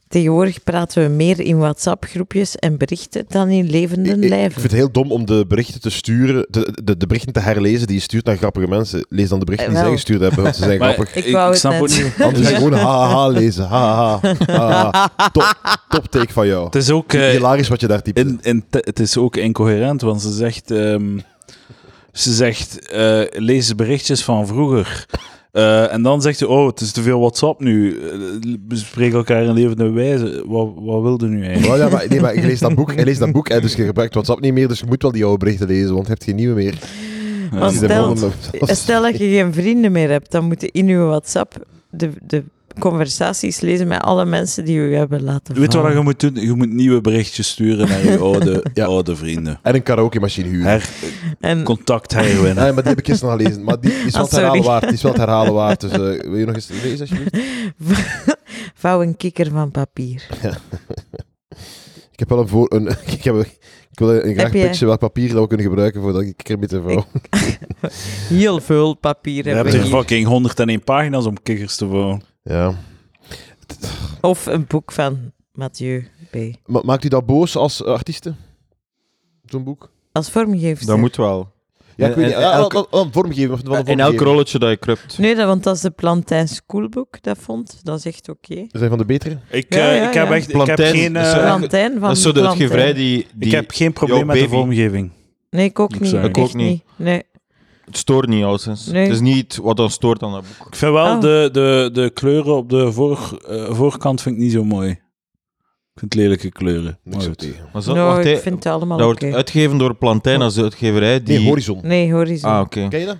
Tegenwoordig praten we meer in WhatsApp-groepjes en berichten dan in levenden
Ik- ik- Ik
lijven.
vind het heel dom om de berichten te sturen, de, de, de berichten te herlezen die je stuurt naar grappige mensen. Lees dan de berichten
Eh,
die zij
wel.
gestuurd hebben, want ze
(laughs)
zijn
Maar-
grappig.
Ik wou het
snap
net.
ook niet.
(laughs) Anders ga je gewoon haha lezen. Haha. haha. Top, top take van jou.
Het is ook, eh,
Hilarisch wat je daar typt.
in, in te- het is ook incoherent, want ze zegt... ehm, ze zegt, eh, lees de berichtjes van vroeger. Eh, en dan zegt ze, oh, het is te veel WhatsApp nu. Eh, Bespreek elkaar in levende wijze. Wat, wat wilde nu eigenlijk?
Wel, ja, maar, nee, maar je leest dat boek, je leest dat boek hè, dus je gebruikt WhatsApp niet meer, dus je moet wel die oude berichten lezen, want je hebt geen nieuwe meer.
Ja.
Want
Die zijn
stel, (laughs)
wel-
stel dat je geen vrienden meer hebt, dan moeten in je WhatsApp de, de conversaties lezen met alle mensen die je hebben laten
Weet je wat
vallen.
je moet doen? Je moet nieuwe berichtjes sturen naar
(laughs)
je oude,
Ja.
oude vrienden.
En een karaoke-machine huren.
Her,
En
contact
Nee,
herwinnen.
maar die heb ik gisteren al gelezen. Maar die, die is wel
Ah,
het herhalen
sorry.
waard. Die is wel het herhalen waard. Dus eh, wil je nog eens lezen, alsjeblieft?
(laughs) vouw een kikker van papier.
(laughs) Ik heb wel een voor... Een, (laughs) ik, heb, ik wil een, graag
Heb je-
pitchen welk papier dat we kunnen gebruiken voordat ik er met vrouw.
Heel veel papier
Je
Ja,
hebben
hebt
we
er
hier.
fucking 101 pagina's om kikkers te wonen.
Ja.
Of een boek van Mathieu B.
Ma- maakt u dat boos als eh, artiesten? Zo'n boek?
Als vormgeefster.
Dat moet wel.
Ja, ik
En-
weet niet.
en
Ja,
elke-
wel- wel een vormgever, of wel een
Eh, In elk
vormgever.
rolletje dat je krupt.
Nee, dat, want dat is de Plantijn Schoolbook, dat vond. Dat is echt oké.
We zijn van de betere.
Ik,
Ja,
eh,
ja,
ik heb
ja.
echt ik heb
Plantijn,
geen,
dat is
eh,
wel-
Plantijn van
dat is zo de
Plantijn.
uitgeverij die, dus die
ik heb geen
jouw
probleem met de
baby.
vormgeving.
Nee, ik ook
Ik
niet.
zou-
Ik ook niet. Nee.
Het stoort niet, alleszins.
Nee.
Het is niet wat dan stoort aan dat boek.
Ik vind wel
Oh.
de, de, de kleuren op de voor, eh, voorkant vind ik niet zo mooi. Ik vind het lelijke kleuren. Maar
Niks op
goed.
tegen.
Maar zo,
Nou,
wacht,
ik
hè,
vind het allemaal
dat
oké.
wordt uitgegeven door Plantijn als de uitgeverij die...
Nee, Horizon.
Nee, Horizon.
Ah, oké.
Ken je dat?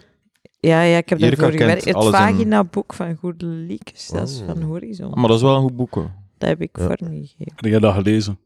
Ja, ja, ik heb
Jirka
daarvoor
kent
gewerkt. Het
alles in-
vagina-boek van Goede Liekes, dat is
Oh.
van Horizon.
Maar dat is wel een goed boek, hoor.
Dat heb ik
Ja.
vormgegeven.
Heb jij dat gelezen?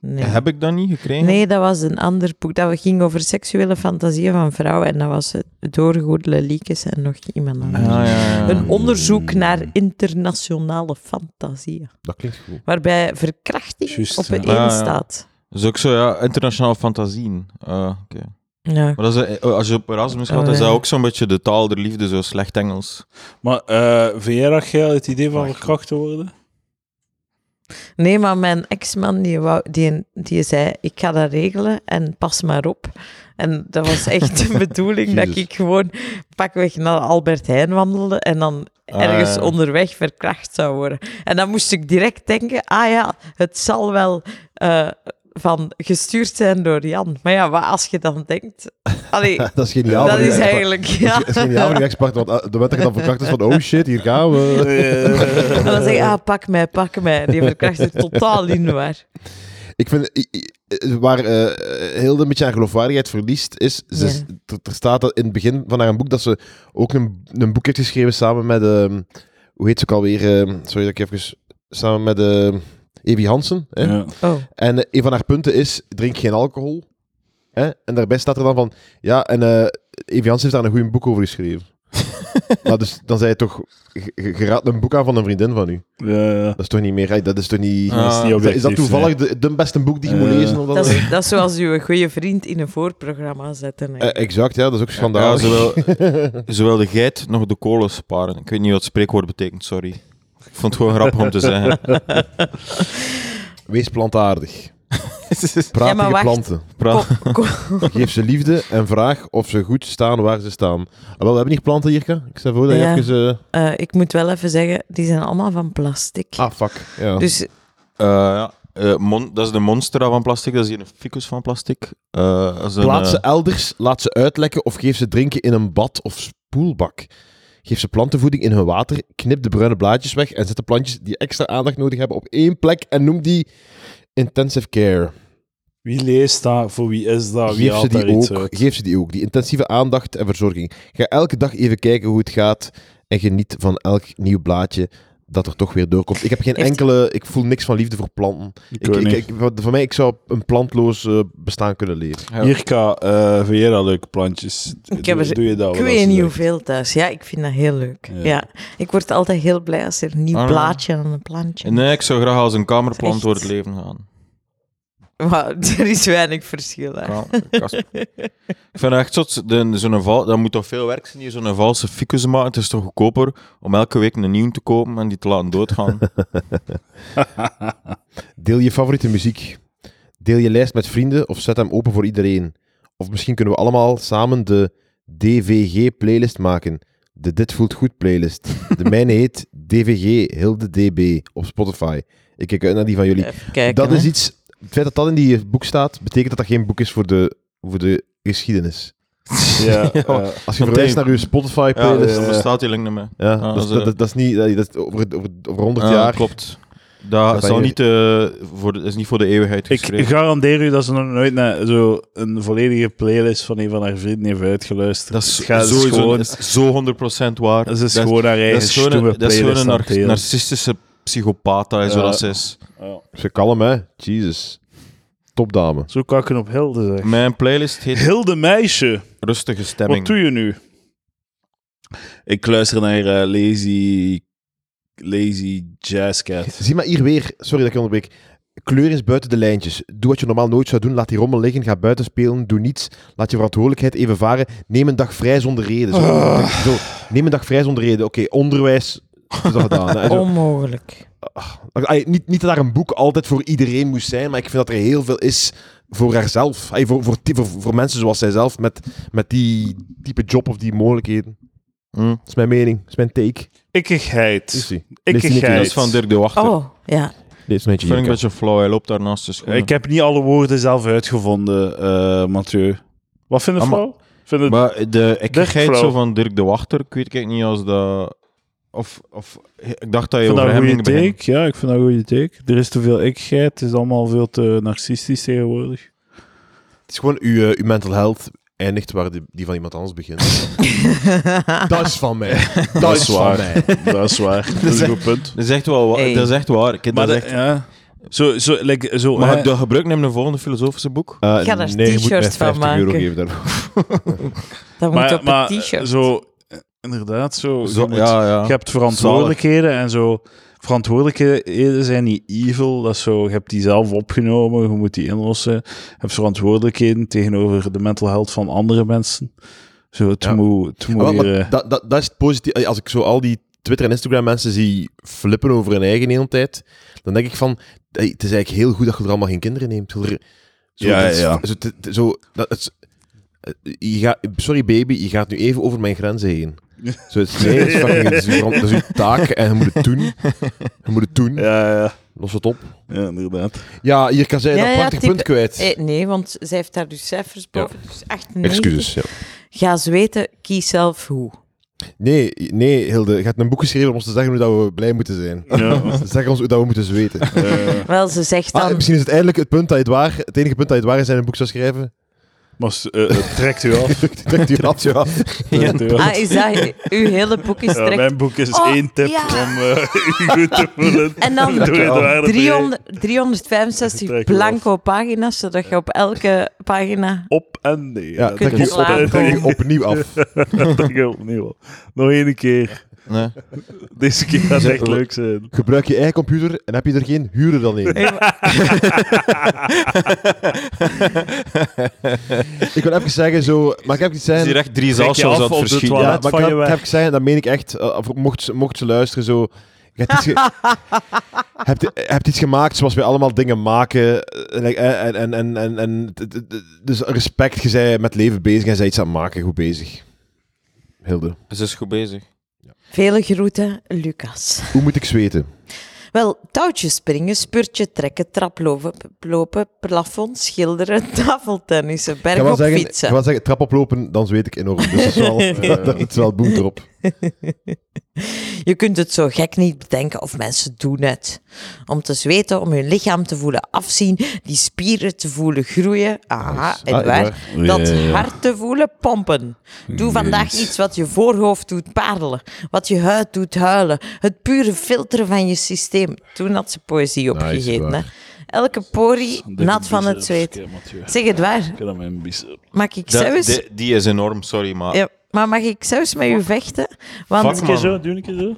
Nee.
Heb ik dat niet gekregen?
nee, dat was een ander boek. Dat ging over seksuele fantasieën van vrouwen. En dat was het door Goede Liekes en nog iemand
Ah,
Mm.
anders.
ja, ja, ja.
Een onderzoek naar internationale fantasieën.
Dat klinkt goed.
Waarbij verkrachting
Juist,
op een
ja.
één
Ah, ja.
staat.
Dat is ook zo, ja. Internationaal fantasieën. Ah, oké.
Ja.
Maar dat is, eh, als je op Erasmus gaat,
Oh,
dan is dat
ja.
ook zo'n beetje de taal der liefde, zo slecht Engels.
Maar eh vind jij dat geil, het idee van verkracht te worden?
Nee, maar mijn ex-man die, wou, die, die zei, ik ga dat regelen en pas maar op. En dat was echt de bedoeling dat
Jezus.
ik gewoon pakweg naar Albert Heijn wandelde en dan
Ah,
ergens
ja.
onderweg verkracht zou worden. En dan moest ik direct denken, ah ja, het zal wel eh, van gestuurd zijn door Jan. Maar ja, wat als je dan denkt...
(laughs)
Allee,
(laughs) Dat is geniaal.
dat
van die
is
expert.
eigenlijk...
Dat
Ja.
(laughs) is- Dat is geniaal van die expert, want eh, de moment dat je dan verkracht is van oh shit, hier gaan we. (laughs)
(laughs)
En dan zeg je, ah, pak mij, pak mij. Die verkracht is totaal niet waar.
Ik vind, i- i- eh, waar eh, heel een beetje aan geloofwaardigheid verliest, is, ze,
Ja.
is- er, er staat dat in het begin van haar boek dat ze ook een, een boek heeft geschreven samen met, ehm, hoe heet ze ook alweer, ehm, sorry dat ik even, samen met ehm Evi Hansen. Hè?
Ja.
Oh,
En eh, een van haar punten is, drink geen alcohol. Hè? En daarbij staat er dan van, ja, en eh Evi Hansen heeft daar een goed boek over geschreven. maar dus, dan zei je toch, je- je je raadt een boek aan van een vriendin van u.
Ja.
Dat is toch niet meer, hey, dat is toch niet...
Ah.
Dat is niet
Is dat, is
objectief,
dat toevallig de, de beste boek die je moet
Eh.
lezen? Omdat
dat is, dat is zoals uw goede vriend in een voorprogramma zetten. hè.
Eh, exact, ja, dat is ook
(laughs) Ja,
schandalig.
zowel, zowel de geit nog de kolen sparen. Ik weet niet wat het spreekwoord betekent, sorry. Ik vond het gewoon (laughs) grappig om te
(laughs)
zeggen.
(laughs) Wees plantaardig.
Ja,
Praat
maar
tegen
wacht. (laughs)
planten.
Praat-
Kom- kom-
Geef ze liefde en vraag of ze goed staan waar ze staan. Ah, wel, we hebben hier planten, Jirka. Ik stel voor dat je
Ja.
even... eh,
Eh, ik moet wel even zeggen, die zijn allemaal van plastic.
Ah, fuck. Ja.
Dus
Eh, ja. Eh, mon- dat is de monstera van plastic, dat is hier een ficus van plastic. Eh, dat is
Dus
een,
Plaats ze
eh,
elders, laat ze uitlekken of geef ze drinken in een bad of spoelbak. Geef ze plantenvoeding in hun water, knip de bruine blaadjes weg en zet de plantjes die extra aandacht nodig hebben op één plek en noem die intensive care.
Wie leest dat? Voor wie is dat? Ah, Wie
Geef ze,
haalt daar
die
iets
ook,
uit?
geef ze die ook, die intensieve aandacht en verzorging. Ga elke dag even kijken hoe het gaat en geniet van elk nieuw blaadje dat er toch weer doorkomt. Ik heb geen
Heeft-
enkele, ik voel niks van liefde voor planten.
Ik
Ik,
weet
ik,
niet.
ik- voor voor mij, ik zou een plantloos eh, bestaan kunnen leven.
Ja.
Jirka, eh, vind jij dat leuke plantjes?
Ik heb
doe,
er-
doe je dat
ik
wel
weet
als
niet
leuk?
hoeveel thuis. Ja, ik vind dat heel leuk.
Ja.
Ja. Ik word altijd heel blij als er een nieuw
Ah, ja.
plaatje aan een plantje.
Nee, ik zou graag als een kamerplant
Echt.
door het leven gaan.
Maar (laughs) er is weinig verschil. Hè.
Kamer- kast. ik vind het echt zot, de- zo'n val, dat moet toch veel werk zijn, die zo'n valse ficus maken. Het is toch goedkoper om elke week een nieuw te kopen en die te laten doodgaan.
Deel je favoriete muziek. Deel je lijst met vrienden of zet hem open voor iedereen. Of misschien kunnen we allemaal samen de DVG-playlist maken. De Dit Voelt Goed playlist. De mijne heet DVG Hilde DB op Spotify. Ik kijk uit naar die van jullie.
Even kijken.
dat is
hè.
iets... Het feit dat dat in die boek staat, betekent dat dat geen boek is voor de, voor de geschiedenis.
Ja,
(laughs) Ja,
eh,
Als je
Want
verwijst
die-
naar je
ja,
Spotify-playlist...
dat
Ja,
bestaat die link niet meer. Ja,
dat, is-
dat is-
dat, dat is niet... Dat is over, over, over 100
Ja,
jaar...
klopt. Dat
Dat
zal
je-
niet, eh, voor de, is niet voor de eeuwigheid
ik
geschreven.
garandeer u dat ze nog nooit naar zo een volledige playlist van een van haar vrienden heeft uitgeluisterd.
dat is
Het gaat- het is
sowieso
gewoon-
dat is zo 100% waar.
Dat is
Dat-
gewoon haar
dat
eigen
is gewoon
stoeme
een, dat is gewoon
playlist
een
aan
nar-
het delen.
narcistische psychopaat, dat is
Ja.
wat dat is.
Ja.
Ze kalm, hè? Jesus. Topdame.
Zo kan ik een op Hilde zeggen.
Mijn playlist heet
Hilde meisje,
Rustige
wat
Stemming.
doe je nu? Ik luister naar eh, Lazy, lazy Jazz Cat.
Zie maar hier weer, sorry dat ik je onderbreek. Kleur is buiten de lijntjes. Doe wat je normaal nooit zou doen. Laat die rommel liggen. Ga buiten spelen. Doe niets. Laat je verantwoordelijkheid even varen. Neem een dag vrij zonder reden. Zo, Denk-
Ah.
zo, neem een dag vrij zonder reden. Oké, onderwijs. is dat gedaan, hè. En zo.
Onmogelijk.
Ay, niet, niet dat daar een boek altijd voor iedereen moest zijn, maar ik vind dat er heel veel is voor haarzelf. Ay, voor, voor, die- voor, voor mensen zoals zijzelf met, met die type job of die mogelijkheden.
Hm.
Dat is mijn mening. Dat is mijn take.
Ikkigheid.
Lucy,
Dat
Ikkigheid.
is van Dirk de Wachter.
Oh, ja.
Dit is een beetje
Vind ik een
Jirka.
beetje flauw, hij loopt daarnaast dus de schoenen.
Ik heb niet alle woorden zelf uitgevonden, eh, Mathieu. Wat vind je
Ah, maar-
flauw? Vind je-
Maar de ekkigheid
flauw.
zo van Dirk de Wachter, ik weet kijk niet als dat... Of, of ik dacht dat je
Ik vind
over
dat
hem
een
ging
goede take.
beginnen.
Ja, ik vind dat een goede take. Er is te veel ikheid. Het is allemaal veel te narcistisch tegenwoordig.
Het is gewoon uw, eh, uw mental health eindigt waar die, die van iemand anders begint. (laughs) (laughs) Dat is van mij. Dat, is van mij.
(laughs) dat is waar. Dat is een goed (laughs) punt.
Dat is echt wel wa-
Hey.
dat is echt waar. Ik,
Maar eh,
dat
dat,
is echt-
ja. Zo, zo, like, zo,
maar
hè.
heb je dat gebruikt in de volgende filosofische boek?
Eh,
Ik ga daar
je moet mij
t-shirts van
50
maken.
euro geven daarvoor.
Dat
Maar-
moet op
maar,
een t-shirt.
Zo, eh, inderdaad, zo.
Zo-
je, moet-
ja, ja.
je hebt verantwoordelijkheden en zo. Verantwoordelijkheden zijn niet evil. Dat is zo, je hebt die zelf opgenomen, je moet die inlossen. Je hebt verantwoordelijkheden tegenover de mental health van andere mensen. Zo, het
Ja.
moet... Het moet
Ah, wel,
hier,
maar
eh,
dat, dat, dat is het positieve. Als ik zo al die Twitter- en Instagram-mensen zie flippen over hun eigen hele tijd, dan denk ik van, hey, het is eigenlijk heel goed dat je er allemaal geen kinderen neemt. Zo,
Ja,
dat is-
ja.
Zo, dat- zo, dat, is- eh, je gaat- sorry baby, je gaat nu even over mijn grenzen
(laughs)
heen. Zo, het, is- nee, dat, is fucking- dat is uw verant- dat is uw taak en je moet het doen. Je moet het doen.
ja, ja,
Los het op.
ja, (laughs) inderdaad.
Ja, hier kan zij
Ja,
een
ja,
prachtig
type-
punt kwijt.
Eh, nee, want zij heeft daar dus cijfers boven. Dus 98.
Excuses. Ja.
Ga zweten, kies zelf hoe.
Nee, nee, Hilde. Je hebt een boek geschreven om ons te zeggen hoe dat we blij moeten zijn.
Ja.
Zeg ons hoe dat we moeten zweten.
eh,
Wel, ze zegt
Ah,
dan...
en misschien is het eindelijk het punt dat je het waar, het enige punt dat je het waar is in een boek zou schrijven.
maar s- eh, het trekt u
(laughs)
af.
Trekt u dat ja.
Trekt u af.
ah, is dat... Uw hele boek is
Ja,
direct...
mijn boek is
Oh,
één tip
ja.
om eh, (laughs) u goed
(laughs)
te voelen.
En dan
Door Eduardo te-
300, 365
Trek je
blanco pagina's, zodat je op elke pagina...
Op en neer.
Ja,
dat
trek
is-
je op,
Slapen.
trek je opnieuw af.
(laughs) dat geldt opnieuw al. Nog één keer.
Nee. (laughs)
Deze keer gaat het
Zeg,
echt leuk zijn.
Gebruik je eigen computer en heb je er geen huren dan in. ik wil even zeggen, zo, maar ik
Het
heb iets
is
zeggen.
hier echt drie
Trek je
zaalshows
af
aan het
op de
verschieten.
Ja,
toilet.
maar
van
ik
je
heb,
weg.
ik heb gezegd, dat meen ik echt, eh, voor- mocht, ze, mocht ze luisteren, zo... Je hebt iets, ge- hebt, hebt iets gemaakt zoals wij allemaal dingen maken. eh, like, eh, En, en, en, en, en d- d- d- dus respect, je bent met leven bezig en zij iets aan het maken, goed bezig. Hilde,
Ze is goed bezig.
Vele groeten, Lucas.
hoe moet ik zweten?
Wel, touwtjes springen, spurtje trekken, traplopen, lopen, plafond schilderen, (laughs) tafeltennissen,
Ik ga
berg
wel
op
zeggen, ik
fietsen.
ga wel zeggen, trap oplopen, dan zweet ik enorm. Dus dat
(laughs)
is wel, dat is wel boem erop.
(laughs) Je kunt het zo gek niet bedenken of mensen doen het. Om te zweten, om hun lichaam te voelen afzien, die spieren te voelen groeien. Aha,
Nice.
en
Ah,
waar?
Edouard.
Dat
Ja, ja, ja.
hart te voelen pompen. Doe vandaag
Jezus.
iets wat je voorhoofd doet parelen, wat je huid doet huilen, het pure filteren van je systeem. Toen had ze poëzie opgegeten. hè.
Edouard.
Elke porie nat van het zweet. Zeg het waar,
Ik heb aan mijn bicep.
mag ik
Dat-
zelfs...
die, die is enorm, sorry, maar...
Ja, maar mag ik zelfs met u vechten?
Fuck,
Want
Doe een keer
man.
zo, doe een keer zo.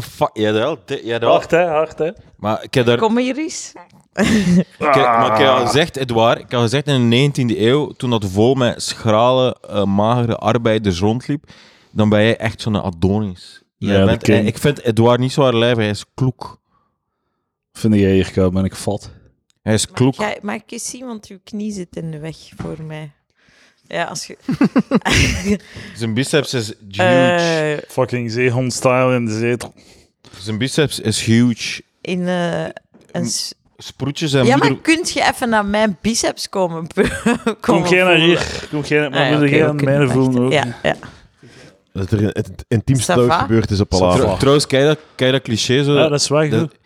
Fuck, jawel, di- jawel.
Hard, hè, hard, hè.
Maar ik heb daar...
kom hier eens.
Ik, heb- maar ik
Ah.
heb al gezegd, Edouard, ik heb al gezegd in de 19e eeuw, toen dat vol met schrale, eh, magere arbeiders rondliep, dan ben jij echt zo'n Adonis. Jij
Ja, dat
bent,
ken
eh,
ik.
ik vind Edouard niet zo haar lijf, hij is kloek.
Vind jij hier koud, ben ik vat.
Hij is
Maar
kloek.
ik, ga, maar ik eens zien, want uw knie zit in de weg voor mij. Ja, als je...
Zijn biceps is huge.
eh,
Fucking zeehondstyle in de zetel.
Zijn biceps is huge.
in eh, een... s-
Sproetjes en
Ja,
moeder...
maar kunt je even naar mijn biceps komen? (laughs) komen
Kom geen naar
voelen?
hier. Kom geen
Ah,
maar
ja,
moet
oké,
jij
we
aan
kunnen
mijne
wachten.
voelen ook.
Ja, ja.
Dat er een, een, intiem
Ça
stout
va?
gebeurd is op
Ça
Palaver.
va.
Trouwens, kijk dat, kijk dat cliché zo.
Ah, Ja, dat is weg,
Dat-
hè.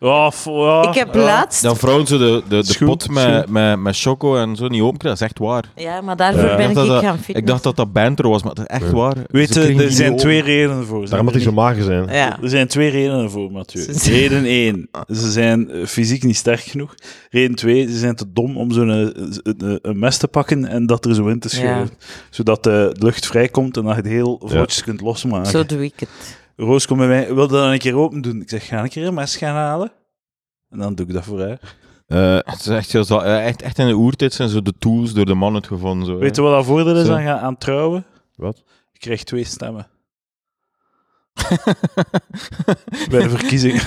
Ja, f- ja.
Ik heb
Ah, Ja,
laatst...
Dan vrouwen ze de, de, de
Schoen,
pot
schoen.
met, met, met choco en zo niet open. Dat is echt waar.
Ja, maar daarvoor
Ja.
ben
Ik
ik,
dacht dat-
gaan fitness.
Ik dacht dat dat banter was, maar dat is echt
Ja.
waar.
Weet
Ze
je,
kregen
er
die
zijn
niet
twee
open.
redenen voor.
Daarom moet hij zo mager zijn.
Ja.
Er zijn twee redenen voor, Mathieu.
Ze zijn-
Reden één, ze zijn eh, fysiek niet sterk genoeg. Reden twee, ze zijn te dom om zo'n eh, z- een, een mes te pakken en dat er zo in te scheuren. Zodat eh, de lucht vrijkomt en dat je het heel vlotjes kunt losmaken.
Zo doe ik het.
Roos komt bij mij, wil dat dan een keer open doen? Ik zeg, ga een keer een mes gaan halen. En dan doe ik dat voor haar.
Eh,
Het is echt, heel zaal- eh, echt, echt in de oertijd zijn zo de tools door de man het gevonden. Zo, hè.
Weet je wat dat voordeel is
Zo.
aan, gaan- aan trouwen?
Wat?
Ik krijg twee stemmen.
(laughs)
Bij de verkiezingen.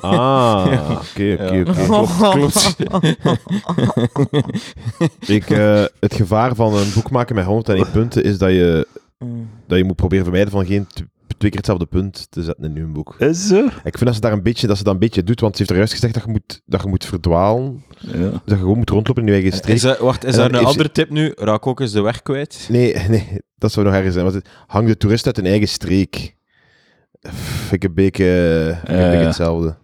ah, oké, oké,
Ja.
oké.
klopt, klopt.
(laughs)
(laughs)
Ik, eh, het gevaar van een boek maken met 101 punten is dat je,
Mm.
dat je moet proberen vermijden van geen t- twee keer hetzelfde punt te zetten in een boek.
Is zo?
Ik vind dat ze, daar een beetje, dat ze dat een beetje doet, want ze heeft er juist gezegd dat je moet, dat je moet verdwalen.
Ja.
Dat je gewoon moet rondlopen in je eigen streek.
Is dat- wacht, is
En
daar
dan
een
heeft
andere tip nu? Raak ook eens de weg kwijt.
(laughs) Nee, nee, dat zou nog erger zijn. Want het- hang de toerist uit hun eigen streek. Vind ik een beetje, vind ik een
Ja,
beetje
ja.
hetzelfde.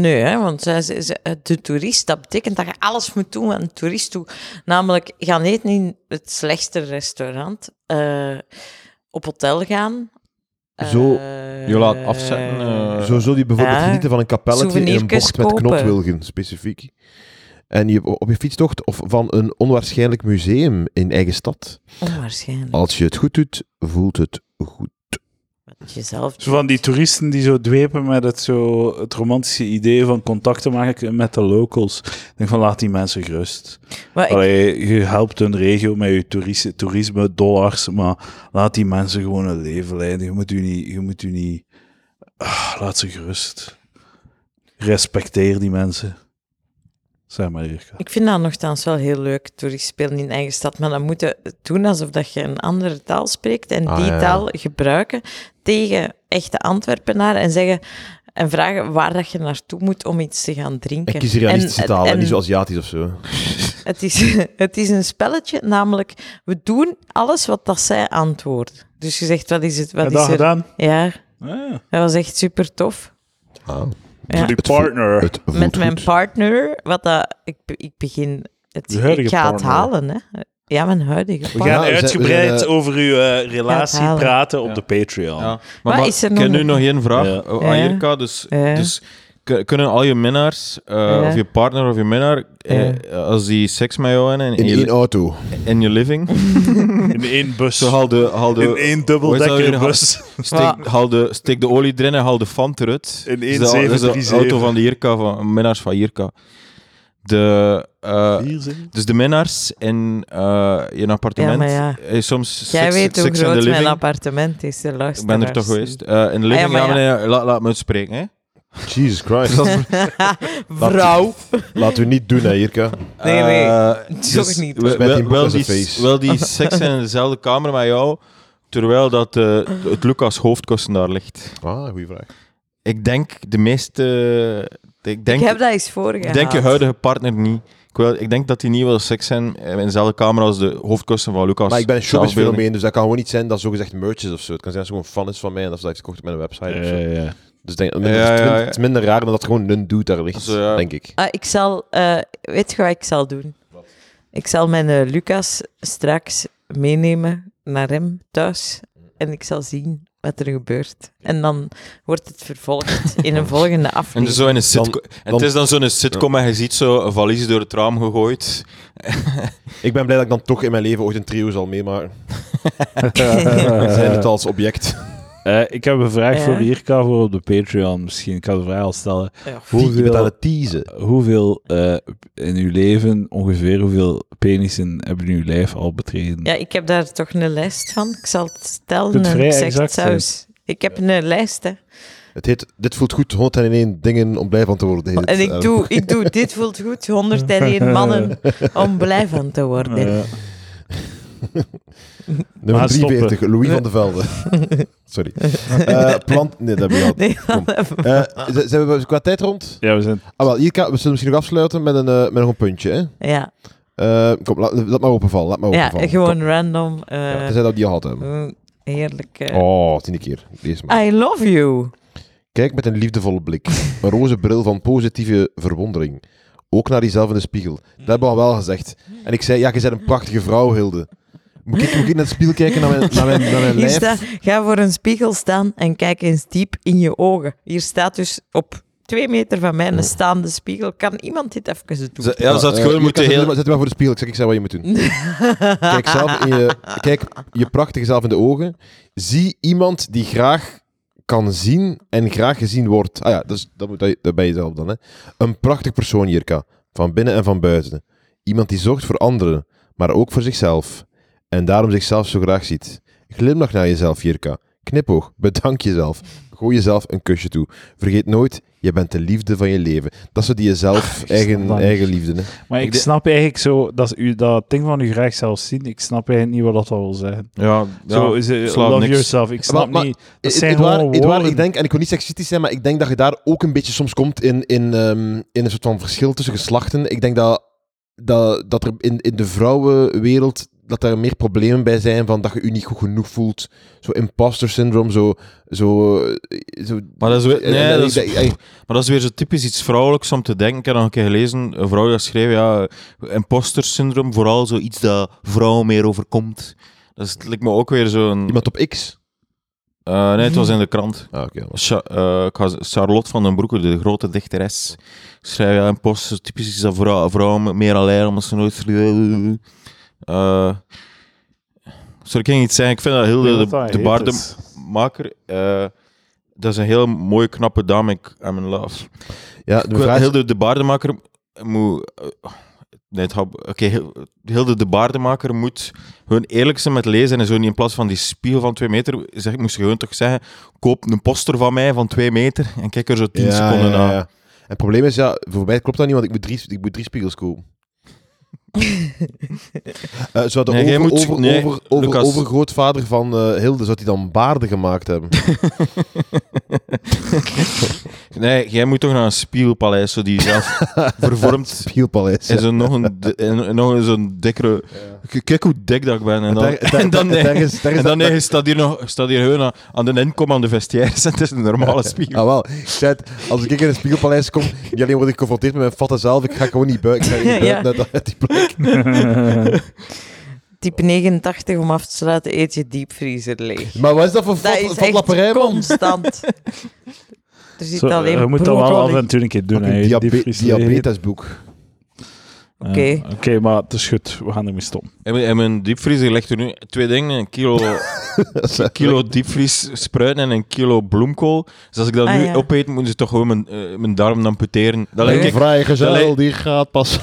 Nee, hè, want zij- ze- ze- de toerist, dat betekent dat je alles moet doen aan de toerist toe. Namelijk gaan eten in het slechtste restaurant, eh, op hotel gaan.
Zo,
eh,
Je laat afzetten. eh.
Zo zul je bijvoorbeeld
Ja.
genieten van een kapelletje in een
Souvenirtjes
bocht met
Ah, kopen.
knotwilgen, specifiek. En je, op je fietstocht of van een onwaarschijnlijk museum in eigen stad.
Onwaarschijnlijk.
Als je het goed doet, voelt het goed.
Wat Jezelf.
Zo van die toeristen die zo dwepen met het, zo, het romantische idee van contact te maken met de locals. Ik denk van, laat die mensen gerust.
Maar ik,
Allee, je helpt hun regio met je toeris- toerisme, dollars, maar laat die mensen gewoon een leven leiden. Je moet u niet... Je moet u niet Ah, laat ze gerust. Respecteer die mensen. Zeg maar, Jirka.
ik vind dat nogthans wel heel leuk, toerist spelen in eigen stad. Maar dan moet je doen alsof dat je een andere taal spreekt en
Ah,
die
ja, ja.
taal gebruiken tegen echte Antwerpenaar en zeggen... En vragen waar dat je naartoe moet om iets te gaan drinken.
Ik kies realistische
En-
taal dus en,
en-
niet zo Aziatisch of zo.
Het is, (laughs) het is een spelletje, namelijk we doen alles wat dat zij antwoordt. Dus je zegt, wat is het? Wat
Heb je dat
is er?
gedaan?
Ja,
Ah,
dat was echt super tof. Ja.
ja. Die partner.
Het voelt
Met mijn
goed.
partner, wat dat, ik, be- ik begin, het,
Je huidige
ik ga het
partner.
halen. Hè. Ja, mijn huidige
We
partner.
gaan
Ja, we zijn-
uitgebreid
we zijn,
over uw eh, relatie
halen.
praten op
Ja.
de Patreon.
Ja.
Maar is er
ik
nog
heb nu
een-
nog één vraag
Ja.
eh, aan
Ja.
Jirka. Dus,
Ja.
dus k- kunnen al je minnaars, eh,
Ja.
of je partner of je minnaar, eh, als die seks met jou hebben in,
In
je,
één auto.
in je living,
In één bus.
zo haal de, haal de,
in één
hoe is dat
dubbeldekker
weer?
bus.
Steek, haal de, steek de olie erin en haal de fan eruit.
In
Dus dat- dat is de
1737.
auto van de Jirka, van, minnaars van Jirka. de, eh,
Vier zinnen?
dus de minnaars in eh, je appartement.
Ja, maar
eh, soms
Jij
six,
weet hoe
six in
groot
the
mijn
living.
appartement is, de luisteraars.
Ik ben er toch
(laughs)
geweest. Eh, in de
Ah, ja,
living
maar
gaan we- laat, laat me uitspreken. Hè?
Jesus
(laughs)
Christ.
Vrouw.
Laten we niet doen, hè, Jirka.
Nee, nee. (laughs)
Eh,
Toch niet.
Wel,
Met die
wel- wel
boek in
die,
zijn face.
wel
(laughs)
die seks in dezelfde kamer met jou, terwijl dat, eh, het Lucas hoofdkussen daar ligt.
Ah, goede vraag.
Ik denk de meeste... Ik denk,
Ik heb dat eens voorgehaald.
ik denk je huidige partner niet. Ik, wil, ik denk dat die niet wil seks zijn eh, in dezelfde kamer als de hoofdkussen van Lucas.
Maar ik ben een
Zelfbeelding.
showbiz-fenomeen, dus dat kan gewoon niet zijn dat zogezegd merch is of zo. Het kan zijn dat ze gewoon fan is van mij en dat ze dat heeft gekocht op mijn website of zo.
Ja,
(laughs)
ja.
Dus ik denk, het,
Ja,
is
ja,
min-
ja.
het is minder raar dan dat er gewoon een dude daar ligt,
Zo, ja.
denk ik.
Ah, ik zal... eh, weet je wat ik zal doen? Ik zal mijn eh, Lucas straks meenemen naar hem thuis. En ik zal zien wat er gebeurt. En dan wordt het vervolgd
(laughs)
in een volgende
En, dus-
aflevering.
zo in een sitco- en het
dan-
is dan zo'n sitcom en je ziet zo een valies door het raam
(laughs)
gegooid.
Ik ben blij dat ik dan toch in mijn leven ooit een trio zal meemaken. (laughs) Zijn het als
(laughs)
object.
Eh, ik heb een vraag
Ja.
voor Jirka voor op de Patreon. Misschien kan ik de vraag al stellen.
Ja.
Je bent aan
Hoeveel,
het teasen.
hoeveel eh, in uw leven, ongeveer hoeveel penissen hebben in uw lijf al betreden?
Ja, ik heb daar toch een lijst van. Ik zal het stellen
Kunt
en
vrij
ik zeg
exact
het saus. Ik heb een lijst, hè.
Het heet, dit voelt goed, 101 dingen om blij van te worden. heet het.
En ik
Eh,
doe, ik doe dit voelt
(laughs)
goed, 101 mannen om blij van te worden.
Eh,
(laughs) Nummer
Maar stoppen.
43, Louis van de Velde. (laughs)
(laughs)
Sorry. Eh, plant... Nee, dat heb je al.
Nee,
Kom.
(laughs) dat hebben we-
Eh, z- zijn we qua tijd rond?
ja, we zijn...
Ah, wel, hier kan, we zullen misschien nog afsluiten met, een, eh, met nog een puntje. Hè?
ja,
Eh, kom, laat, laat maar openvallen. Laat maar
ja
openvallen.
gewoon
Kom.
random.
Ja,
eh,
tenzij dat we die al gehad hebben.
mm, heerlijk. eh.
Oh, tiende keer. Deze maar.
I love you.
Kijk met een liefdevolle
(laughs)
blik. Een roze bril van positieve verwondering. Ook naar jezelf in de spiegel. Dat hebben we al wel gezegd. En ik zei, ja, je bent een prachtige vrouw, Hilde. Moet ik, moet ik in het spiegel kijken naar mijn, naar mijn, naar mijn
Hier
lijf?
staat, ga voor een spiegel staan en kijk eens diep in je ogen. Hier staat dus op twee meter van
Oh.
mij een staande spiegel. Kan iemand dit even doen?
Ja, ze had
eh,
gewoon
je
moeten
kan-
heel...
Zet maar voor de spiegel, ik zeg, ik zeg wat je moet doen. Kijk, zelf in je, kijk je prachtige zelf in de ogen. Zie iemand die graag kan zien en graag gezien wordt. Ah ja, dus, dat, moet, dat ben je zelf dan. Hè. Een prachtig persoon, Jirka. Van binnen en van buiten. Iemand die zorgt voor anderen, maar ook voor zichzelf. En daarom zichzelf zo graag ziet. Glimlach naar jezelf, Jirka. Knipoog, bedank jezelf. Gooi jezelf een kusje toe. Vergeet nooit, je bent de liefde van je leven. Dat is zo die jezelf,
Ah,
eigen,
dat niet.
eigen liefde. Hè.
Maar ik
de-
snap eigenlijk zo, dat, u, dat ding van u graag zelf zien, ik snap eigenlijk niet wat dat wil zeggen.
Ja,
zo,
ja,
is het,
slaat
love
niks.
yourself, ik snap
Maar- maar-
niet. Dat
Ed-
zijn
E-, Edouard,
gewoon
Edouard,
woorden.
ik denk, en ik wil niet seksistisch zijn, maar ik denk dat je daar ook een beetje soms komt in, in, ehm, in een soort van verschil tussen geslachten. Ik denk dat, dat, dat er in, in de vrouwenwereld dat er meer problemen bij zijn van dat je je niet goed genoeg voelt. Zo imposter syndroom, zo... zo, eh, zo
Maar dat is weer-
en-
nee,
en-
dat is-
ik denk- ik-
Maar dat is weer zo typisch iets vrouwelijks om te denken. Ik heb nog een keer gelezen, een vrouw die had geschreven, ja, imposter syndroom, vooral zoiets dat vrouwen meer overkomt. Dat is, het lijkt me ook weer zo'n...
Iemand op X?
Eh, nee, het was in de krant.
Ah, oké.
Cha- eh, ik ga z- Charlotte van den Broeke, de grote dichteres, schrijft, ja, imposter, typisch iets dat vrou- vrouwen meer alleen omdat ze nooit... Eh sorry, ik ging iets zeggen. Ik vind dat heel
Ik denk
de,
dat dat
de
heet
baarden...
is.
maker. eh, dat is een heel mooie, knappe dame. Ik I'm in love.
Ja,
Ik
de
wil-
vraag is-
Hilde de baardemaker moet... eh, nee, het gaat- Oké, heel- Hilde de baardemaker moet gewoon eerlijk zijn met lezen. En zo niet in plaats van die spiegel van twee meter... Zeg, moest je gewoon toch zeggen... Koop een poster van mij van twee meter en kijk er zo tien
Ja,
seconden
ja, ja.
naar.
En het probleem is, ja, voor mij klopt dat niet, want ik moet drie, ik moet drie
(laughs)
spiegels kopen. Eh zou de
Nee, jij
over,
moet-
over,
nee,
over, over,
Lucas.
overgrootvader van eh, Hilde, zou die dan baarden gemaakt
(laughs)
hebben?
Nee, jij moet toch naar een spiegelpaleis, zo die
(laughs)
zelf vervormt...
Spielpaleis.
En zo nog een, di- en nog een zo'n dikkere... K- Kijk hoe dik dat ik ben. En dan, (laughs) en dan, nee,
ergens,
en dan nee,
dat-
je staat hier, nog, staat hier gewoon aan, aan de inkom aan de (laughs) vestiaires. en Het is een
(laughs)
normale spiegel.
Ah, wel. Ik zei het, als ik in het Spiegelpaleis kom, niet alleen word ik geconfronteerd met mijn vatte zelf, ik ga gewoon niet buiten. Ik ga niet
(laughs) Ja.
buiten uit- (laughs) uit die plek.
Type 89 om af te sluiten, eet je diepvriezer leeg.
Maar wat is dat voor
Dat
vat-
is echt
vatlapperij, man? (laughs)
constant. Er zit
Zo,
alleen
eh, je moet dat wel af
eh,
broccoli.
en toe een keer doen.
Een
hè,
diabe-
diepvriesleer.
diabetesboek.
Ja,
Oké.
Oké, maar het is goed. We gaan ermee stoppen.
In mijn, in mijn diepvriezer ligt er nu twee dingen. Een kilo,
(laughs)
kilo diepvries spruiten en een kilo bloemkool. Dus als ik dat
Ah,
nu
ja.
opeet, moeten ze toch gewoon mijn, eh, mijn darm amputeren. Dan lijk,
Een
ik, dat
vrijgezel
lijkt-
die gaat pas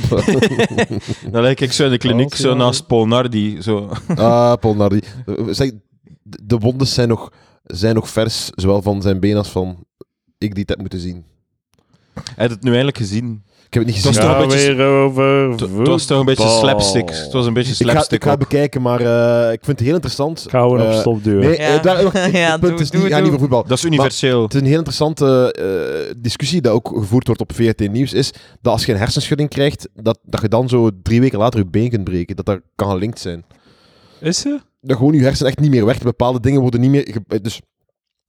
(laughs)
(laughs) dan lijk ik zo in de kliniek,
Als je
zo
dan-
naast Polnardi. Zo.
Apel naar die. Eh, Zeg, de de wondes zijn nog, zijn nog vers, zowel van zijn been als van ik die het heb moeten zien.
Heb je het nu eindelijk gezien?
Ik heb het niet
Dat
gezien.
is toch een
Gaan
beetje-
weer over
Het het was toch een beetje
voetbal.
slapstick. Het was een beetje
ik ga,
slapstick.
ik ga het
ook.
bekijken, maar eh, ik vind het heel interessant.
Gaan we nog
Eh,
stopduwen?
Nee,
Ja.
eh, daar, wacht,
(laughs)
het
Ja,
punt
doe-
is
doe-
niet, gaat niet
doe.
over voetbal.
Dat is universeel.
Het is een heel interessante eh, discussie die ook gevoerd wordt op VRT Nieuws, is dat als je een hersenschudding krijgt, dat, dat je dan zo drie weken later je been kunt breken. Dat daar kan gelinkt zijn.
Is ze?
Dat gewoon je hersen echt niet meer werkt. Bepaalde dingen worden niet meer... ge- eh, Dus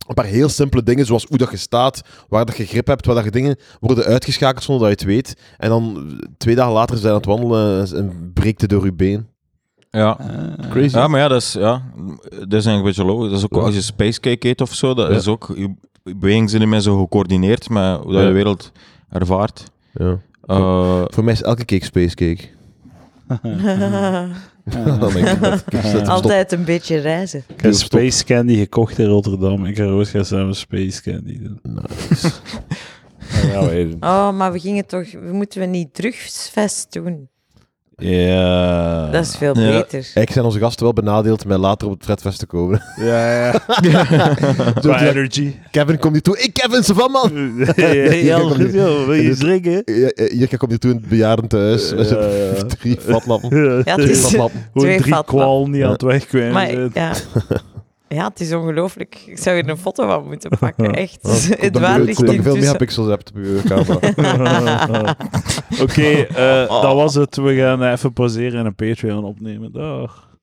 een paar heel simpele dingen, zoals hoe dat je staat, waar dat je grip hebt, waar dat je dingen worden uitgeschakeld zonder dat je het weet. En dan eh, twee dagen later zijn aan het wandelen en- en breekt het door je been.
Ja.
Crazy.
Ja, maar ja, dat is, ja, dat is eigenlijk een beetje logisch. Dat is ook
Ja.
als je spacecake eet of zo, dat
Ja.
is ook, je je bewegingen zijn ermee zo gecoördineerd met hoe dat
Ja.
je de wereld ervaart.
Ja.
Eh,
Voor mij is elke cake space cake.
(laughs)
Mm. (laughs) Dan denk ik dat- ik heb steeds op stop.
Altijd een beetje reizen.
Ik heb
Stop.
Space Candy gekocht in Rotterdam. Ik ga ooit gaan samen Space Candy doen. Ah, ja, weet het.
Oh, maar we gingen toch... We moeten we niet drugsfest doen?
Ah.
Ja.
Dat is veel
Eh, Ja.
beter.
Ik zijn onze gasten wel benadeeld met later op het Fredfest te komen.
Ja, ja.
(laughs) Zo
Qua
direct,
energy.
Kevin, kom hier toe. Ik, Kevin, ze van man.
(laughs) Heel goed, joh. Wil je iets drinken?
Ja, eh, Hier ik kom hier toe in het bejaarden thuis. Met
Ja, ja.
zo'n drie vatlappen.
Ja,
Drie
is-
vatlappen.
Hoe
twee
drie
vatlappen.
kwal niet aan het wegkwijnen
Maar
zijn.
(laughs) ja. ja, het is ongelooflijk. Ik zou er een foto van
(laughs)
moeten pakken, echt.
Komt
(laughs) Het
dat
waar
je-
ligt
komt dat je veel meer
intussen.
pixels hebt op je camera.
Oké, eh, dat was het. We gaan even pauzeren en een Patreon opnemen. Dag.